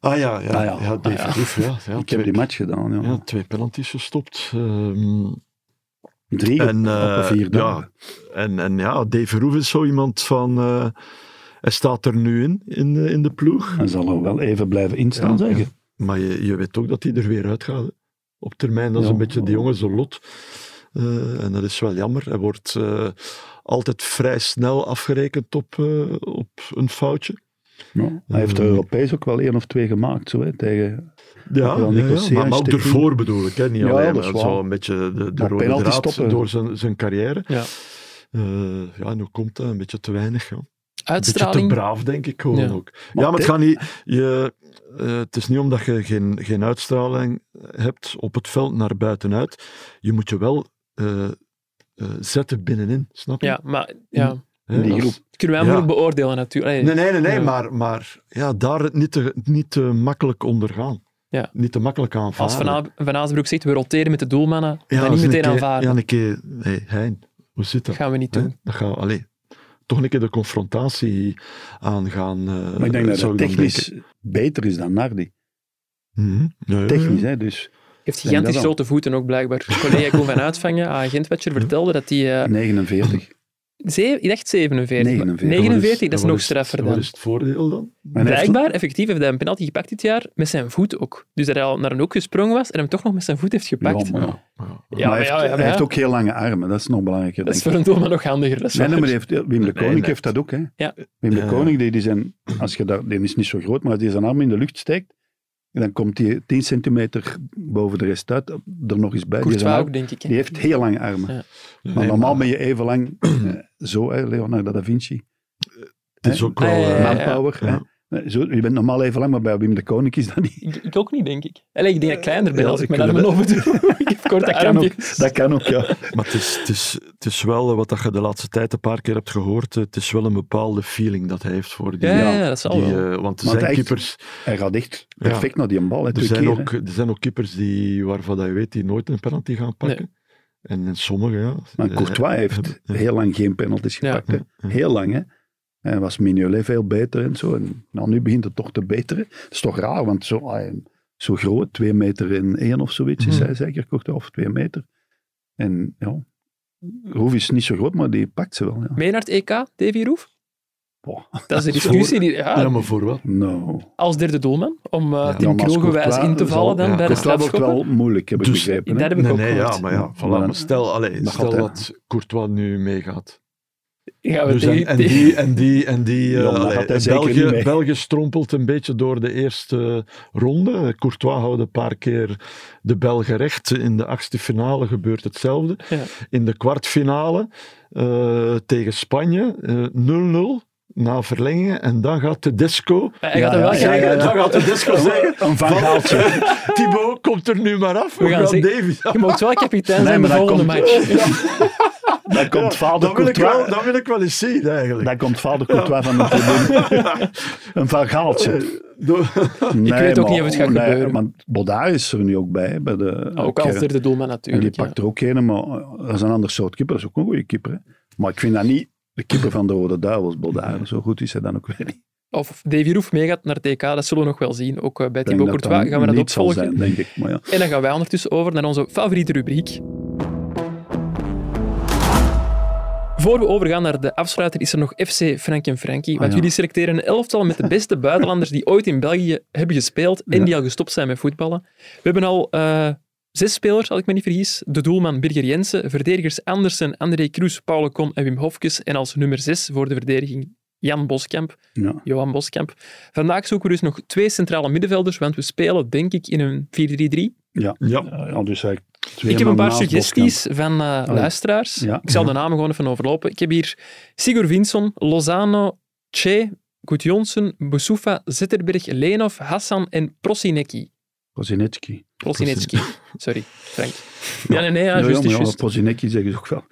Ah ja, ja,
Ah,
ja,
ja.
definitief. Ja. Ja,
Ik
twee,
heb die match gedaan, ja.
ja, twee penalties gestopt. ehm,
Drie
en,
op
eh,
op een vier
ja,
dagen.
en, en ja, Dave Roef is zo iemand van... eh, hij staat er nu in, in, de- in de ploeg.
Hij zal er wel even blijven instaan,
Ja,
zeggen.
Maar je, je weet ook dat hij er weer uit gaat. hè. Op termijn, dat is
Ja.
een beetje de jongen zijn lot. Eh, en dat is wel jammer. Hij wordt eh, altijd vrij snel afgerekend op, eh, op een foutje.
Ja. Hij heeft er Europees ook wel één of twee gemaakt, zo, hè, tegen...
Eh. Ja,
Wel,
ja, ja,
Nicolas
maar, maar ook
Sierhuis,
ervoor bedoel ik. Hè? Niet
Ja,
alleen,
dat is
maar
waar.
zo een beetje de, de
Maar
rode
penalty
draad
stoppen.
door zijn, zijn carrière.
Ja.
Eh, ja, en hoe komt dat? Een beetje te weinig. Ja. Een beetje te
Uitstraling.
braaf, denk ik gewoon
Ja.
ook. ja, maar het
dit-
gaat niet... Je, eh, het is niet omdat je geen, geen uitstraling hebt op het veld naar buitenuit. Je moet je wel eh, eh, zetten binnenin, snap je?
Ja, maar ja.
Hè,
die
als-
groep.
Dat kunnen wij
Ja.
moeilijk beoordelen natuurlijk. Allee,
Nee, nee, nee, nee
Ja.
maar, maar ja, daar het niet te, niet te makkelijk ondergaan.
Ja.
niet te makkelijk aanvaarden.
Als Van, A- van Azenbroek zegt, we roteren met de doelmannen,
Ah. Ja, eens
dan niet
een
meteen
keer-
aanvaarden.
Ja, een keer, hey, Hein, hoe zit dat?
dat gaan we niet
Hè?
doen.
Dat gaan we, allee, toch een keer de confrontatie aangaan. eh,
Maar ik denk dat
zou
het
ik dan
technisch
denken.
beter is dan Nardi.
Eh. Mhm. Ja, ja, ja.
Technisch, hè, dus
Heeft
Denk dat
gigantisch
wel.
grote voeten ook, blijkbaar. Collega Koen van Uitvangen, aan Gentwetcher, vertelde dat hij...
Hmm.
eh
49.
zeven- ik dacht 47. maar
49,
En wat
49, dat is
en wat
nog straffer
en Wat
dan.
is het voordeel dan?
Maar hij heeft-
Blijkbaar, effectief, heeft hij een penalty gepakt dit jaar, met zijn voet ook. Dus dat hij al naar een hoek gesprongen was en hem toch nog met zijn voet heeft gepakt.
Ja, maar ja.
Ja.
Ja,
Maar hij,
maar ja,
heeft,
ja, maar
hij
ja.
heeft ook heel lange armen, dat is nog belangrijker.
Dat is voor
denk ik.
een doelman nog handiger. Dat is
Nee, nee,
waar.
maar die heeft, Wim de Koning
nee.
heeft dat ook. Hè.
Ja.
Wim de
Ja.
Koning, die, die, zijn, als je daar, die is niet zo groot, maar als die zijn arm in de lucht steekt, dan komt die 10 centimeter boven de rest uit, er nog eens bij. Die, zijn
Courtois
arm-
ook, denk ik. hè.
die heeft heel lange armen.
Ja.
Maar
Nee,
normaal ben je even lang, eh, zo hè, Leonardo da Vinci,
Het is ook wel...
Ah, ja, ja,
eh,
ja.
manpower. hè. Eh, Zo, je bent normaal even lang, maar bij Wim de Koning is dat niet.
Ik, ik ook niet, denk ik. Allee, ik denk dat ik kleiner ben
Ja,
als ik
dat
mijn armen
kunnen
open doe. ik heb korte
Dat kan,
armpjes.
ook, dat kan ook, ja.
Maar het is, het, is, het is wel, eh, wat dat je de laatste tijd een paar keer hebt gehoord, eh, het is wel een bepaalde feeling dat hij heeft voor die...
Ja, ja, ja, dat zal
die,
wel.
eh, want er
Want
zijn
echt,
keepers,
Hij gaat echt
Ja.
perfect naar die bal. Hè,
er
twee
zijn,
keer,
ook, er zijn ook keepers die, waarvan dat je weet die nooit een penalty gaan pakken. En, en sommigen, ja.
Maar
eh,
Courtois heeft
hebben-
heel lang geen penalties
Ja.
gepakt. hè. Heel lang, hè. En was Mignolet veel beter en zo. En nou, nu begint het toch te beteren. Dat is toch raar, want zo, ah, en zo groot, twee meter en één of zoiets, is
Mhm.
hij zeker Courtois, of twee meter. En ja, Roef is niet zo groot, maar die pakt ze wel. Ja.
Mee naar het EK, E Davy Roef?
Boah.
Dat is de discussie. Die, ja,
Ja, maar voor wat?
Nou,
Als derde doelman, om eh
Ja,
Tim
maar als
Krogewijs
Courtois
in te vallen
zal-
dan
ja,
bij de
Courtois wordt
strafschoppen.
wel moeilijk, heb ik
Dus-
begrepen. hè.
Dat heb ik
Nee,
ook
nee,
gehoord.
ja, maar ja,
Ja,
voilà.
maar-
Maar eh, stel, allee,
Dat
stel
gaat, hè.
dat Courtois nu meegaat.
Gaan we
Dus en,
tegen-
en
tegen-
die, en die, en die eh,
Ja, maar dat
allee,
gaat hij zeker niet
België,
mee.
België strompelt een beetje door de eerste ronde. Courtois houdt een paar keer de Belgen recht. In de achtste finale gebeurt hetzelfde.
Ja.
In de kwartfinale eh, tegen Spanje eh, 0-0 na verlengingen. En dan gaat de disco
Hij gaat hem wel
Ja, ja,
krijgen.
ja, ja.
Dan gaat de disco zeggen...
Een van Gaaltje.
Thibaut, komt er nu maar af. We,
We gaan
gaan,
zien-
Davies af.
Je mag wel kapitein
Nee,
zijn
maar
bij de
dat
volgende
komt-
match.
Dan komt vader
Dat wil, ik wel,
Courtois...
dat wil ik wel eens zien, eigenlijk.
Dan komt vader Courtois van de tribune. Een van Gaaltje.
Door-
Nee,
weet ook
maar-
niet of het gaat
nee,
gebeuren.
Want Bodaar is er nu ook bij. hè, bij de,
Ook als
Kern.
derde doelman
En die
natuurlijk. ja.
pakt er ook een, maar eh, dat is een ander soort keeper. Dat is ook een goede keeper. hè. Maar ik vind dat niet de keeper van de Rode Duivels, Bodaar. Zo goed is hij dan ook weer niet.
Of Davy Roef meegaat naar het EK, dat zullen we nog wel zien. Ook eh, bij
Ik denk
Thibaut
dat
Courtois gaan we dat
niet zal
opvolgen.
zijn, denk ik. Maar ja.
En dan gaan wij ondertussen over naar onze favoriete rubriek. Voor we overgaan naar de afsluiter is er nog FC Frank en Frankie. Want
Ah, ja.
jullie selecteren een elftal met de beste buitenlanders die ooit in België hebben gespeeld en
Ja.
die al gestopt zijn met voetballen. We hebben al eh, zes spelers, als ik me niet vergis. De doelman Birger Jensen, verdedigers Andersen, André Kroes, Paul Kom en Wim Hofkes. En als nummer zes voor de verdediging Jan Boskamp.
Ja.
Johan Boskamp. Vandaag zoeken we dus nog twee centrale middenvelders, want we spelen denk ik in een 4-3-3.
Ja.
Ja, dus eigenlijk twee
Ik heb een
man
paar
naast
suggesties van eh, luisteraars.
Ja.
Ik zal de namen gewoon even overlopen. Ik heb hier Sigur Vinson, Lozano, Che, Gudjonsson, Boussoufa, Zetterberg, Lenov, Hassan en Prosinecki.
Boskamp. Prozinecki.
Prosinecki. Sorry, Frank. Ja, nee, nee, ja,
Ja, ja,
juist,
maar ja,
juist.
Prozinecki zeggen ze ook wel.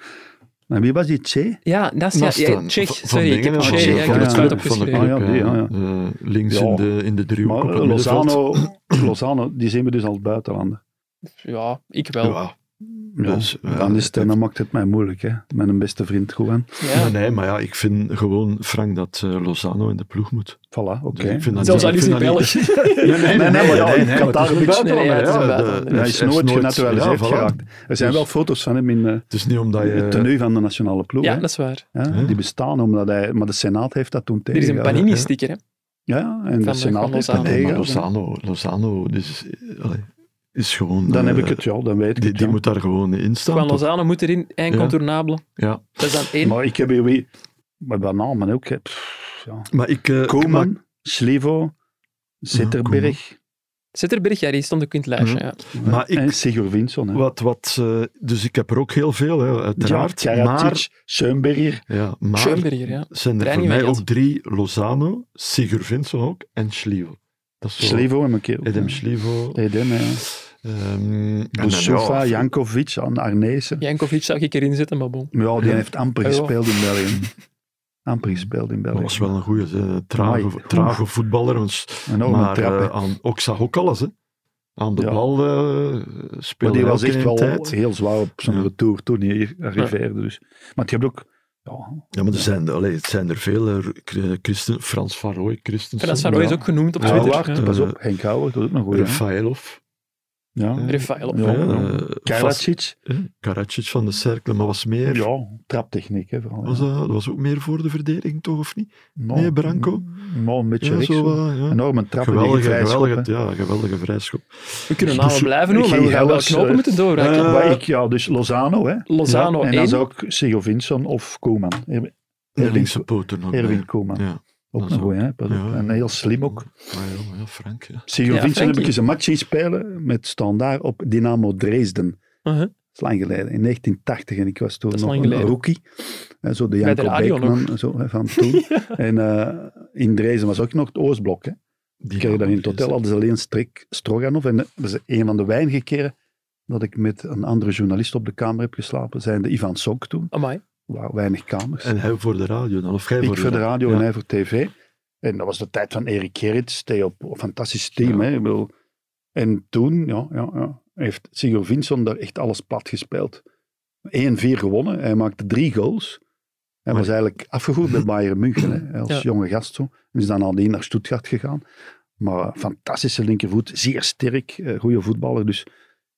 Maar wie was die Tje?
Ja, dat is ja,
Naast
ja,
dan.
Tsjech.
Van- van
Sorry, ik heb
Dingen,
Che,
van-
ja, ik
van
heb het
de
fout
club, van de
opgeschreven.
club,
Ah, ja, die, ja, ja.
Eh, links
Ja.
in de, in de driehoek
Maar
op het
eh,
middenveld.
Lozano, Lozano, die zien we dus als buitenlander.
Ja, ik wel. Ja.
Ja.
Ja.
Dus, eh,
dan, is het, dan maakt het mij moeilijk, hè. Met een beste vriend, Juan.
Nee, nee, maar ja, ik vind gewoon, Frank, dat eh, Lozano in de ploeg moet.
Voilà, oké.
Dus ik vind dat
Zelfs al
ik
is
vind
hij
dat
Belg.
Nee, nee, nee, maar ja,
nee,
in
nee,
Qatar
het is een
een
Nee, nee, het eh, is een
ja, de-
buitenlander.
de-
Hij is nooit genaturaliseerd
ja, voilà.
geraakt. Er zijn
Dus-
wel foto's van hem in eh,
Het is niet omdat je...
het tenue van de nationale ploeg. hè.
dat is waar.
Ja,
Ja.
Die bestaan omdat hij... Maar de Senaat heeft dat toen
Er is een
tegengehouden.
ja.
Panini-sticker, hè.
Ja, en de
van
Senaat heeft
Lozano.
dat
Nee, maar
tegengehouden.
Lozano, Lozano dus, eh, allee, is gewoon...
Dan heb
eh,
ik het, ja, dan weet ik
Die,
het.
die
ja.
moet daar gewoon in
Juan
staan. toch?
Lozano moet erin, incontournabele.
Ja.
Dat is dan één.
Maar ik heb hier wie... Maar bij namen ook, hè. Pff, ja.
Maar ik... eh, maar-
Koeman, Slivo, Zitterberg
Zetterberg, ja, die stond ook in het lijstje.
Mhm.
Ja.
Maar ik-
en Sigur Vinsson. hè.
Wat, wat, eh, dus ik heb er ook heel veel, hè, uiteraard.
Ja,
maar,
Karadzic, Schoenberger.
ja, maar
Schoenberger, ja.
zijn er
Trein
voor
niet
mij
meer
ook
gehad.
drie. Lozano, Sigur Vincent ook en Schlievo. Dat is zo.
Slivo en een keer.
Edem Schlievo.
Edem, ja.
ehm, en dan,
Boussofa,
ja,
Jankovic, An- Arnezen.
Jankovic zag ik erin zitten, maar bon.
Ja, die heeft amper
Ja.
gespeeld in België. Amper gespeeld in
Dat
België.
was wel een goede,
Amai.
trage, trage voetballer. want-
Een enorme
maar
trap.
eh,
hè.
aan Oxa ook alles. Hè. aan de
Ja.
bal eh
Maar
speelde.
die
hij
was
ook in
echt
een
wel
tijd.
heel zwaar op zijn
Ja.
retour toen hij hier arriveerde. Dus. Maar je hebt ook... Ja,
Ja, maar er zijn, allee, het zijn er veel. eh, Chr- Christen, Frans van Rooij, Christensen.
Frans van Rooij is
ja.
ook genoemd op
Ja,
Twitter.
wacht.
Ja.
eh, pas op. Henk Houwer, dat is ook nog goed. hè?
Rafaelov.
Ja.
Refailov.
Ja.
eh, vast-
Karacic.
eh, Karacic van de Cercle, maar was meer...
Ja, traptechniek. Hè, vooral,
Was
ja.
dat, dat was ook meer voor de verdediging, toch, of niet?
Nou,
Nee, Branco.
Nou, een beetje
Ja,
rechts,
zo,
hoor.
eh, ja.
Enorme trap
Geweldige,
in die
geweldige,
vrijschop, hè.
ja, geweldige vrijschop.
We kunnen namen blijven noemen, maar
Guy
we gaan wel
Hellas,
knopen
eh,
moeten doorraken.
eh,
Waar ik, ja, dus Lozano, hè.
Lozano
Ja, en dan
1.
zou ik Segovinson of Koeman. Erwin-
De
Erwin,
linkse poot er nog bij.
Erwin Koeman.
Oh, Ja.
Ook
dat
een
is
goeie, hè. pas op.
Ja.
En heel slim ook.
Maar ja, ja, Frank, ja.
Segovinson heb
Frankie.
ik eens een match zien spelen met standaard op Dynamo Dresden.
Uh-huh.
Dat is lang geleden, in 1980. En ik was toen
Dat is
nog
lang
een
geleden.
rookie. En zo de
Bij de
Janko
radio
Beekman en zo, hè, van toen. En eh, in Dresden was ook nog het Oostblok. Hè.
Die
Ik kreeg daar in het
man is-
hotel, hadden ze alleen strik Stroganov. En eh, dat is een van de weinige keren dat ik met een andere journalist op de kamer heb geslapen. Zijn de Ivan Sonk toen.
Amai.
Wauw, weinig kamers.
En hij voor de radio dan, of jij
ik voor de radio en
Ja.
hij voor tv. En dat was de tijd van Erik Gerrits, Theo Po- fantastisch team.
Ja.
Hè? Ik bedoel, en toen ja, ja, ja, heeft Sigurd Vincent daar echt alles plat gespeeld. 1-4 gewonnen, hij maakte drie goals. Hij
Maar-
was eigenlijk afgegroeid bij Bayern München, hè, als
Ja.
jonge gast. Zo. En is dan nadien naar Stuttgart gegaan. Maar eh, fantastische linkervoet, zeer sterk, eh, goede voetballer. Dus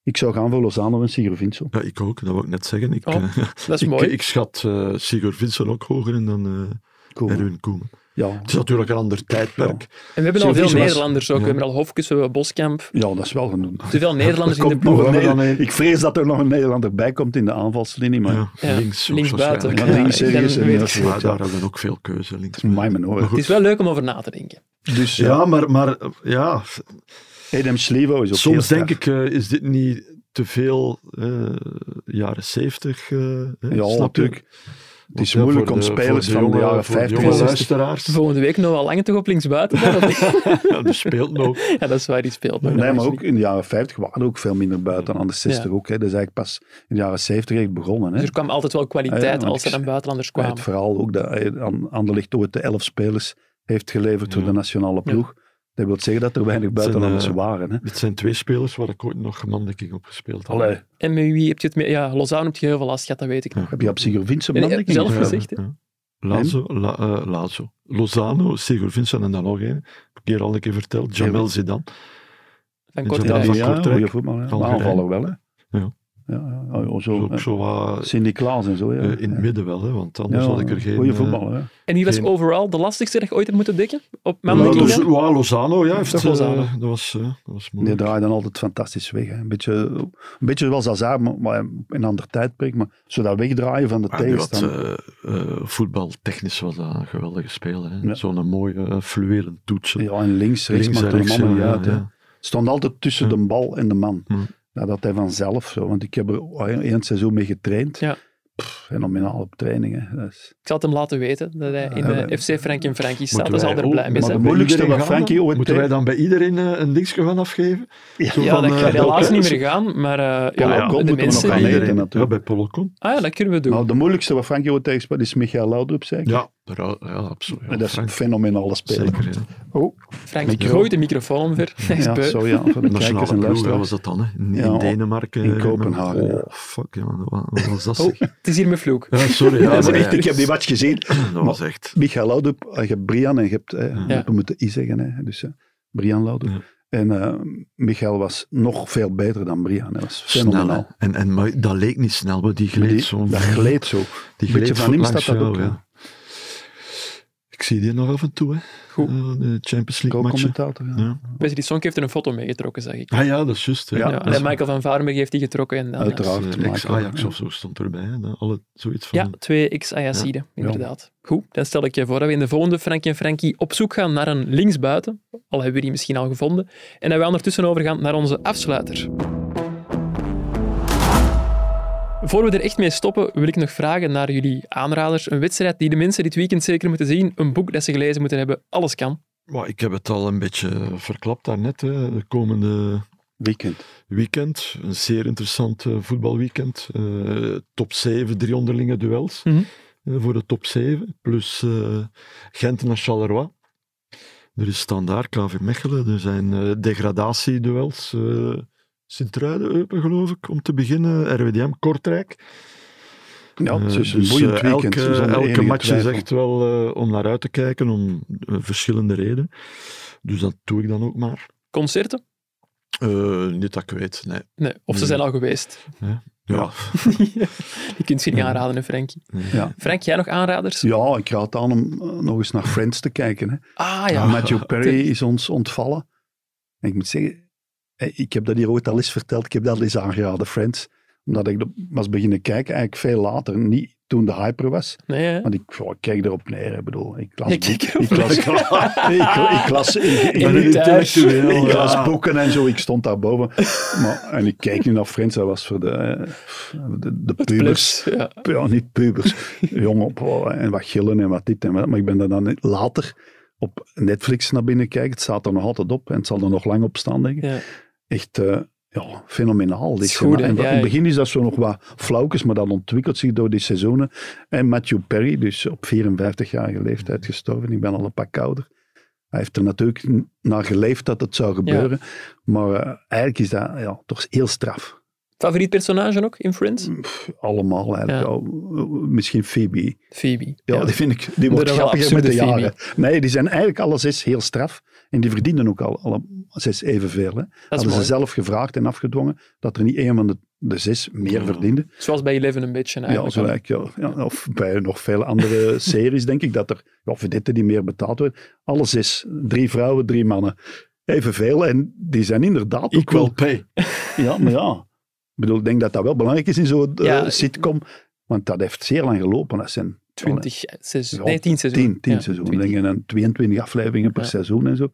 ik zou gaan voor Lozano en Sigurd Vincent.
Ja, ik ook, dat wou ik net zeggen. Ik,
Oh,
eh,
Dat is
ik,
mooi.
ik schat eh Sigurd Vincent ook hoger in dan eh,
Cool.
Erwin Koeman.
Ja.
Het is natuurlijk een ander tijdperk.
En we hebben al
Sylvie
veel
was-
Nederlanders ook. We
Ja.
hebben al Hofkes, we hebben Boskamp.
ja, dat is wel genoemd.
Te veel Nederlanders in
komt
de
nog
ploeg.
een
maar
Neder-
dan een-
eh, Ik vrees dat er nog een Nederlander bij komt in de aanvalslinie, maar
Ja,
Ja,
links, ook
links buiten.
waarschijnlijk.
Ja,
ja, links
ik
serieus
ben-
en
weet
rechts
ik-
wordt,
Maar
ja.
daar hebben we ook veel keuze, links.
Het is mijn hoor.
Maar
Het
goed.
is wel leuk om over na te denken.
Dus ja,
Ja, maar, maar eh, ja,
Edem Slevo is ook
soms
heel
denk
straf.
ik, eh, is dit niet te veel eh, jaren zeventig? eh, hè,
Ja,
snap je?
natuurlijk. Het
Want
is
ja,
moeilijk
voor
om
de- voor
spelers van de
jonge-
jaren
voor
50 en
jonge
60.
luisteraars.
Volgende week nog wel langer toch op linksbuiten.
Ja, die speelt nog.
ja, dat is waar, die speelt. nog.
Nee,
Dat
maar
is
ook in de jaren 50 waren er ook veel minder buiten dan aan de 60
Ja.
ook. Hè. Dat is eigenlijk pas in de jaren 70 echt begonnen. Hè. Ah,
Dus er kwam altijd wel
Ja,
kwaliteit
want
als er
ik-
dan buitenlanders
Maar
kwamen.
Het verhaal ook dat hij aan Anderlecht ooit de 11 spelers heeft geleverd voor
Ja.
de nationale ploeg. Dat wil zeggen dat er weinig buitenlanders
eh,
waren. Hè.
Dit zijn twee spelers waar ik ooit nog gemandekking op gespeeld had.
Allee,
En met wie heb je het mee? Ja, Lozano heb je heel veel last gehad, dat weet ik nog.
heb je op Sigurd Vincent
Nee,
man,
nee,
denk ik? Ja.
zelf gezien. gezicht, hè?
Ja. Lazo, La- eh, Lazo. Lozano, Sigurd Vincent en dan nog één. Heb ik hier al een keer verteld. Jamel Zidane.
Van
Ja,
Ja,
Kortrijk.
van
die- ja,
Kortrijk.
goeie voetbal. hè.
Van
Maar
Gerijn.
aanvaller wel, hè.
Ja.
ja, ja, Oh, ja,
Dat is
zo, eh,
ook zo wat
Sint-Niklaas en zo, ja.
eh, in het midden wel, hè, want anders had ik er geen...
Goeie
eh,
voetballer, hè.
En wie was
Geen-
overal de lastigste dat je ooit hebt moeten dekken? Op
Ja, Loz-
Mandekinga?
ja, Lozano, ja. Heeft,
Toch
eh,
Lozano.
dat, was, eh, dat was
Die
moeilijk.
draaide dan altijd fantastisch weg. Hè. Een, beetje, een beetje zoals Hazard, maar, maar in een ander tijdperk. Maar zo dat wegdraaien van de
Maar Ah, die had,
tegenstander.
eh, eh, voetbaltechnisch was dat een geweldige speler. hè.
Ja.
Zo'n mooie eh, fluwelen toetsen.
ja, en links, rechts,
Links en
maakt er
rechts. eh,
allemaal niet
ja,
uit. hè.
ja.
Stond altijd tussen
Ja.
de bal en de man.
Hm.
Ja, dat hij vanzelf, zo, want ik heb er één seizoen mee getraind.
Ja.
Pff, fenomenaal op trainingen. Dat is-
Ik zal het hem laten weten dat hij in
Ja,
de
wij-
FC Frank en Frankie staat.
Moeten
Dat zal
wij
er
ook-
blij mee
maar
zijn.
bij
moeilijkste
iedereen
wat
gaan
Frankie
dan?
ooit
Moeten wij
deed-
dan bij iedereen eh, een linkje van afgeven? Zo
Ja,
van,
dat
eh,
kan helaas
welke-
niet meer gaan, maar eh, ja,
Polokop
de
moeten we
mensen...
Bij
nog gaan
die-
leren.
iedereen,
natuurlijk.
Ja, bij Polokon.
Ah ja, dat kunnen we doen.
Nou, de moeilijkste wat Frankie ooit tegenspeelt is Michael Laudrup, zeker.
Ja, daar- ja absoluut. Ja,
En dat is een
Frank,
fenomenale speler.
zeker. Ja.
Oh,
Frank,
Micro.
gooi de microfoon omver. Hij is
ja,
beu.
sorry ja, voor de kijkers
Nationale
en
ploeg, dat
luisteraars.
was dat dan, hè? In,
Ja,
in
oh,
Denemarken.
in
eh,
Kopenhagen,
Oh,
ja.
fuck, ja, wat, wat was dat?
Oh,
zeg?
het is hier mijn vloek.
Ja, sorry, ja,
Dat is
maar
echt,
ja,
ik heb die match gezien.
dat was echt.
Michael Laudrup, eh, je hebt Brian en je hebt, eh, we moeten I zeggen, hè, dus eh, Brian Laudrup.
Ja.
En eh, Michael was nog veel beter dan Brian. Hij was
Snel. hè.
fenomenaal.
En, en, maar dat leek niet snel, want die gleed
Die-
zo'n.
dat gleed zo.
Die
beetje
gleed
van
voet
hem
langs
staat dat
jou,
ook, ja.
Ik zie die nog af en toe, hè?
Goed.
Eh, de Champions League matchen.
Co-commentator. Ja.
Ja.
Wesley Sonk heeft er een foto mee getrokken, zeg ik.
Ah ja, dat is juist. hè.
Ja,
Ja,
Dat
en
is-
Michael van Varenberg heeft die getrokken. En dan, ja.
Uiteraard.
dat is, eh,
Michael,
Ex-Ajax
ja.
of zo stond erbij. Hè? Dat Alle, zoiets van.
Ja, twee x ajaxiden inderdaad. Goed, dan stel ik je voor dat we in de volgende Frankie en Frankie op zoek gaan naar een linksbuiten, al hebben we die misschien al gevonden, en dat we ondertussen overgaan naar onze afsluiter. Voor we er echt mee stoppen, wil ik nog vragen naar jullie aanraders. Een wedstrijd die de mensen dit weekend zeker moeten zien, een boek dat ze gelezen moeten hebben, alles kan.
Maar ik heb het al een beetje verklapt daarnet. Hè. De komende
Weekend.
weekend, een zeer interessant eh, voetbalweekend. Eh, top 7, drie onderlinge duels
Mhm.
eh, voor de top 7. Plus eh Gent naar Charleroi. Er is standaard KV Mechelen, er zijn eh, degradatieduels. eh Sint-Truiden, Eupen geloof ik, om te beginnen. RWDM, Kortrijk.
Ja,
Eh,
het is een
dus,
boeiend
eh,
weekend.
Elke,
zonder
elke
enige
match
twijfel.
is echt wel eh, om naar uit te kijken, om eh, verschillende redenen. Dus dat doe ik dan ook maar.
Concerten?
Eh, niet dat ik weet, nee.
Nee, of ze
Nee.
zijn al geweest.
Ja,
Je kunt ze niet
Ja.
aanraden, hè, Frankie.
Ja.
Frank, jij nog aanraders?
Ja, ik raad aan om eh, nog eens naar Friends te kijken. Hè.
Ah ja.
Matthew Perry is ons ontvallen. En ik moet zeggen, eh, ik heb dat hier ooit al eens verteld. Ik heb dat al eens aangeraden, Friends. Omdat ik dat was beginnen kijken, eigenlijk veel later. Niet toen de hyper was.
Nee, hè?
Want ik, oh, ik keek erop neer. Ik bedoel, ik las,
Je keek
boeken-
erop
ik las, ik, ik las, ik, ik-
In de thuis.
ik
ja.
las boeken en zo. Ik stond daarboven. Maar, en ik keek nu naar Friends. Dat was voor de, eh, de, de pubers
Plus. Ja.
ja, niet pubers, jong op oh, en wat gillen en wat dit en wat. Maar ik ben daar dan later op Netflix naar binnen kijken. Het staat er nog altijd op en het zal er nog lang op staan, denk ik.
Ja.
Echt eh, ja, fenomenaal. Dit
is goed, hè?
en dat-
Ja,
in het
ja.
begin is dat zo nog wat flauwkes, maar dat ontwikkelt zich door die seizoenen. En Matthew Perry, dus op 54-jarige leeftijd gestorven. Ik ben al een pak ouder. Hij heeft er natuurlijk n- naar geleefd dat het zou gebeuren. Maar eh, eigenlijk is dat ja, toch heel straf
Favoriet personage ook in Friends?
Mm. allemaal eigenlijk.
Ja.
al. eh, Misschien Phoebe.
Phoebe.
Ja,
Ja.
die vind ik, die
Dat
wordt
is wel
grappiger met de
absurde Phoebe.
jaren. Nee, die zijn eigenlijk alle zes heel straf. En die verdienen ook al, alle zes evenveel. Hè.
Dat is
Hadden ze
mooi.
zelf gevraagd en afgedwongen dat er niet één van de, de zes meer
Ja.
verdiende.
Zoals bij Eleven een beetje
Ja,
eigenlijk.
zo eigenlijk, ja. Ja, Of bij nog veel andere series, denk ik, dat er ja, vedetten die meer betaald worden. Alle zes, drie vrouwen, drie mannen, evenveel. En die zijn inderdaad ook wel
equal pay.
ja, maar ja. Ik bedoel, ik denk dat dat wel belangrijk is in zo'n eh,
Ja, ik-
sitcom. Want dat heeft zeer lang gelopen. Dat zijn
20, seizoen,
Ja,
nee, 10 seizoen.
10, 10
Ja,
seizoenen.
20.
Denk je, en 22 afleveringen per
Ja.
seizoen en zo.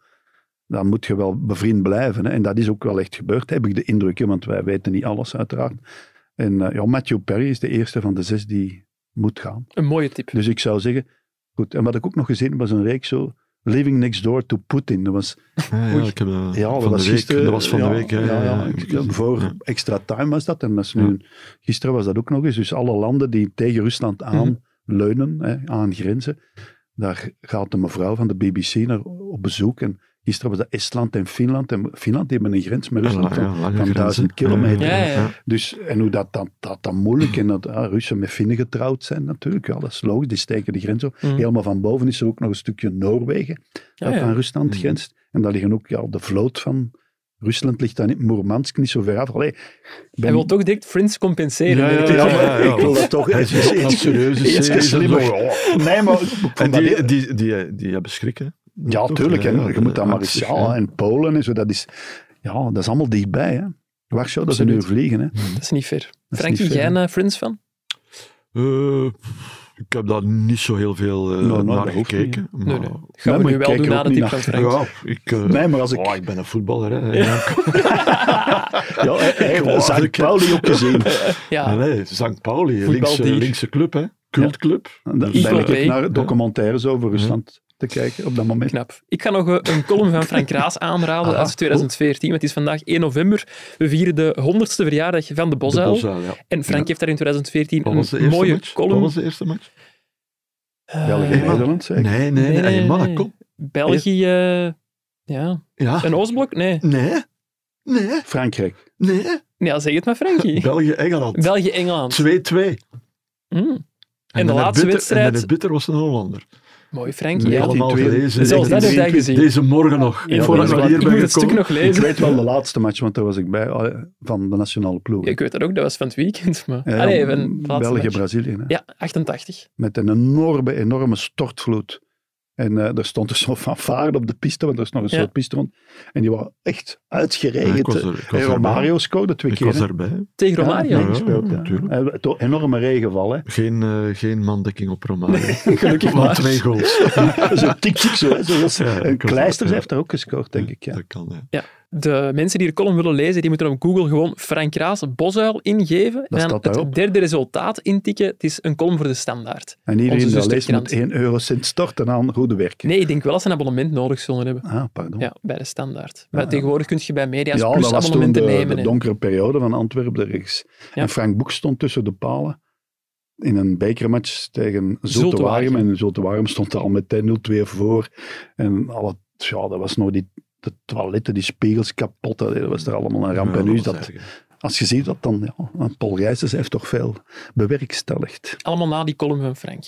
Dan moet je wel bevriend blijven. Hè. En dat is ook wel echt gebeurd, heb ik de indruk. Hè, want wij weten niet alles, uiteraard. En eh, ja, Matthew Perry is de eerste van de zes die moet gaan.
Een mooie tip.
Dus ik zou zeggen, goed. En wat ik ook nog gezien heb, was een reeks zo. Living Next Door to Putin. Dat was
Ja, ja,
Oei.
ik heb dat,
ja, dat
van
was
de week.
gisteren.
dat was van
ja,
de week. hè.
ja, ja.
ik-
Ik- voor
ja.
extra time was dat. En dat is nu, gisteren was dat ook nog eens. Dus alle landen die tegen Rusland aanleunen, hè, aangrenzen, daar gaat de mevrouw van de BBC naar op bezoek. En gisteren was dat Estland en Finland. En Finland die hebben een grens met
Ja,
Rusland.
lange-
van-
ja, lange
van
grenzen.
1000 kilometer.
Ja, ja, ja.
dus, en hoe dat dan dat, dan moeilijk en dat ah, Russen met Finnen getrouwd zijn natuurlijk. Ja, dat is logisch, die steken de grens op.
Mhm.
Helemaal van boven is er ook nog een stukje Noorwegen
Ja, Hmm.
dat
ja.
aan Rusland
Mhm.
grenst. En daar liggen ook ja, de vloot van Rusland ligt dan in Moermansk niet zo ver af. Allee, ik ben-
Hij wil toch direct Friends compenseren.
Ja, ja,
merk ik.
Ja,
ja,
maar
ja.
ik wil dat toch.
Hij is
iets-
een
iets-
serieuze
iets
serie,
slimmer.
dat
Nee, maar ik vond
En
dat heel-
die, die, die, die hebben schrikken.
ja,
Toch?
tuurlijk. hè.
Ja,
je moet dat maar eens.
hartstikke,
Ja,
hè.
en Polen en zo, dat is. Ja, dat is allemaal dichtbij. Hè. Warschau, dat is een uur
Absoluut.
vliegen. Hè.
Dat is niet fair.
niet
Frankie,
fair,
jij
hè.
een Friends van?
Eh, ik heb daar niet zo heel veel eh,
Nou, nou,
naar
dat hoeft
gekeken.
Nee,
Maar,
nee. Gaan we
maar
nu
ik
wel
kijk
doen
er
na
ook
de
niet
tip van
naar.
Frank.
Ja, ik, eh,
Nee, maar als ik.
oh, ik ben een voetballer. Hè.
Ja, eh, eh,
wou dat
Sankt
ik-
Pauli ook gezien.
Ja,
Ja,
nee, St. Pauli,
Voetbaldier.
linkse, linkse club, hè? Cultclub.
Dan ben
Equal
ik
pay.
naar documentaires over Rusland te kijken op dat moment.
knap. Ik ga nog eh, een column van Frank Raas aanraden
Ah,
uit 2014, want het is vandaag 1 november. We vieren de 100ste verjaardag van de
De
Bosuil.
Bosuil, ja.
En Frank
Ja.
heeft daar in 2014
Wat was de
een
eerste
mooie
match? Wat
column.
was de eerste match?
Eh,
België-Nederland, zeker.
Nee, nee, nee.
nee,
ah,
nee,
hey, mannen,
nee.
kom.
België, eh, ja.
Ja.
Een Oostblok? Nee.
Nee. Nee,
Frankrijk.
nee.
Ja, zeg het maar, Frankie.
België-Engeland. 2-2.
België-Engeland. Mm.
En
de
dan het
laatste
bitter-
wedstrijd-
En dan het bitter was een Hollander.
Mooi, Frankie. Ja,
allemaal
1922.
gelezen.
Zelfs dat heb jij gezien.
Deze morgen nog.
Ja,
Voordat
dat
we
is
hier
waar. ik
ben
moet het stuk
gekomen.
nog
Ik
lezen.
weet wel de laatste match, want daar was ik bij, ah, van de nationale ploeg.
Ja, ik weet dat ook, dat was van het weekend. Maar...
Ja,
Allee, van het laatste match.
België-Brazilië. hè.
Ja, 88.
met een enorme, enorme stortvloed. En eh er stond er zo'n fanfare op de piste, want er is nog een
Ja.
soort piste rond. En die waren echt
Ja, ik
uitgeregend.
was er- ik was
en
erbij.
Romario scoorde twee
Ik
keer.
was
hè.
erbij.
Tegen
Ja,
Romario.
ja.
meegespeeld, ja.
natuurlijk.
En het- Enorme regenval, hè.
Geen, eh, geen mandekking op Romario.
Gelukkig
maar.
maar.
twee goals.
zo tik-tik zo. Hè. zo was-
Ja,
en
ik was
Kleisters
er,
heeft daar ook gescoord, denk ik. Ja.
Dat kan, ja.
De mensen die de column willen lezen, die moeten op Google gewoon Frank Raas Bosuil ingeven. en dan
staat
het
daarop.
derde resultaat intikken. Het is een column voor de standaard.
En
Onze
iedereen die dat leest
zusterkrant.
moet 1 eurocent storten aan goede werken.
Nee, ik denk wel dat ze een abonnement nodig zullen hebben.
Ah, pardon.
Ja, bij de standaard. Maar
ja.
tegenwoordig kun je bij media's
Ja,
plus
dat was toen
abonnementen
de,
nemen.
de
hè.
donkere periode van Antwerpen rechts.
Ja.
En Frank Boek stond tussen de palen in een bekermatch tegen Zultuarium.
Zultuarium.
En Zultuarium stond er al meteen 0-2 voor. En alle ja, dat was nog die de toiletten, die spiegels kapot. hè. Dat was er allemaal een ramp. en nu is dat, als je ziet dat dan, ja, Paul Gijsens heeft toch veel bewerkstelligd.
Allemaal na die column van Frank.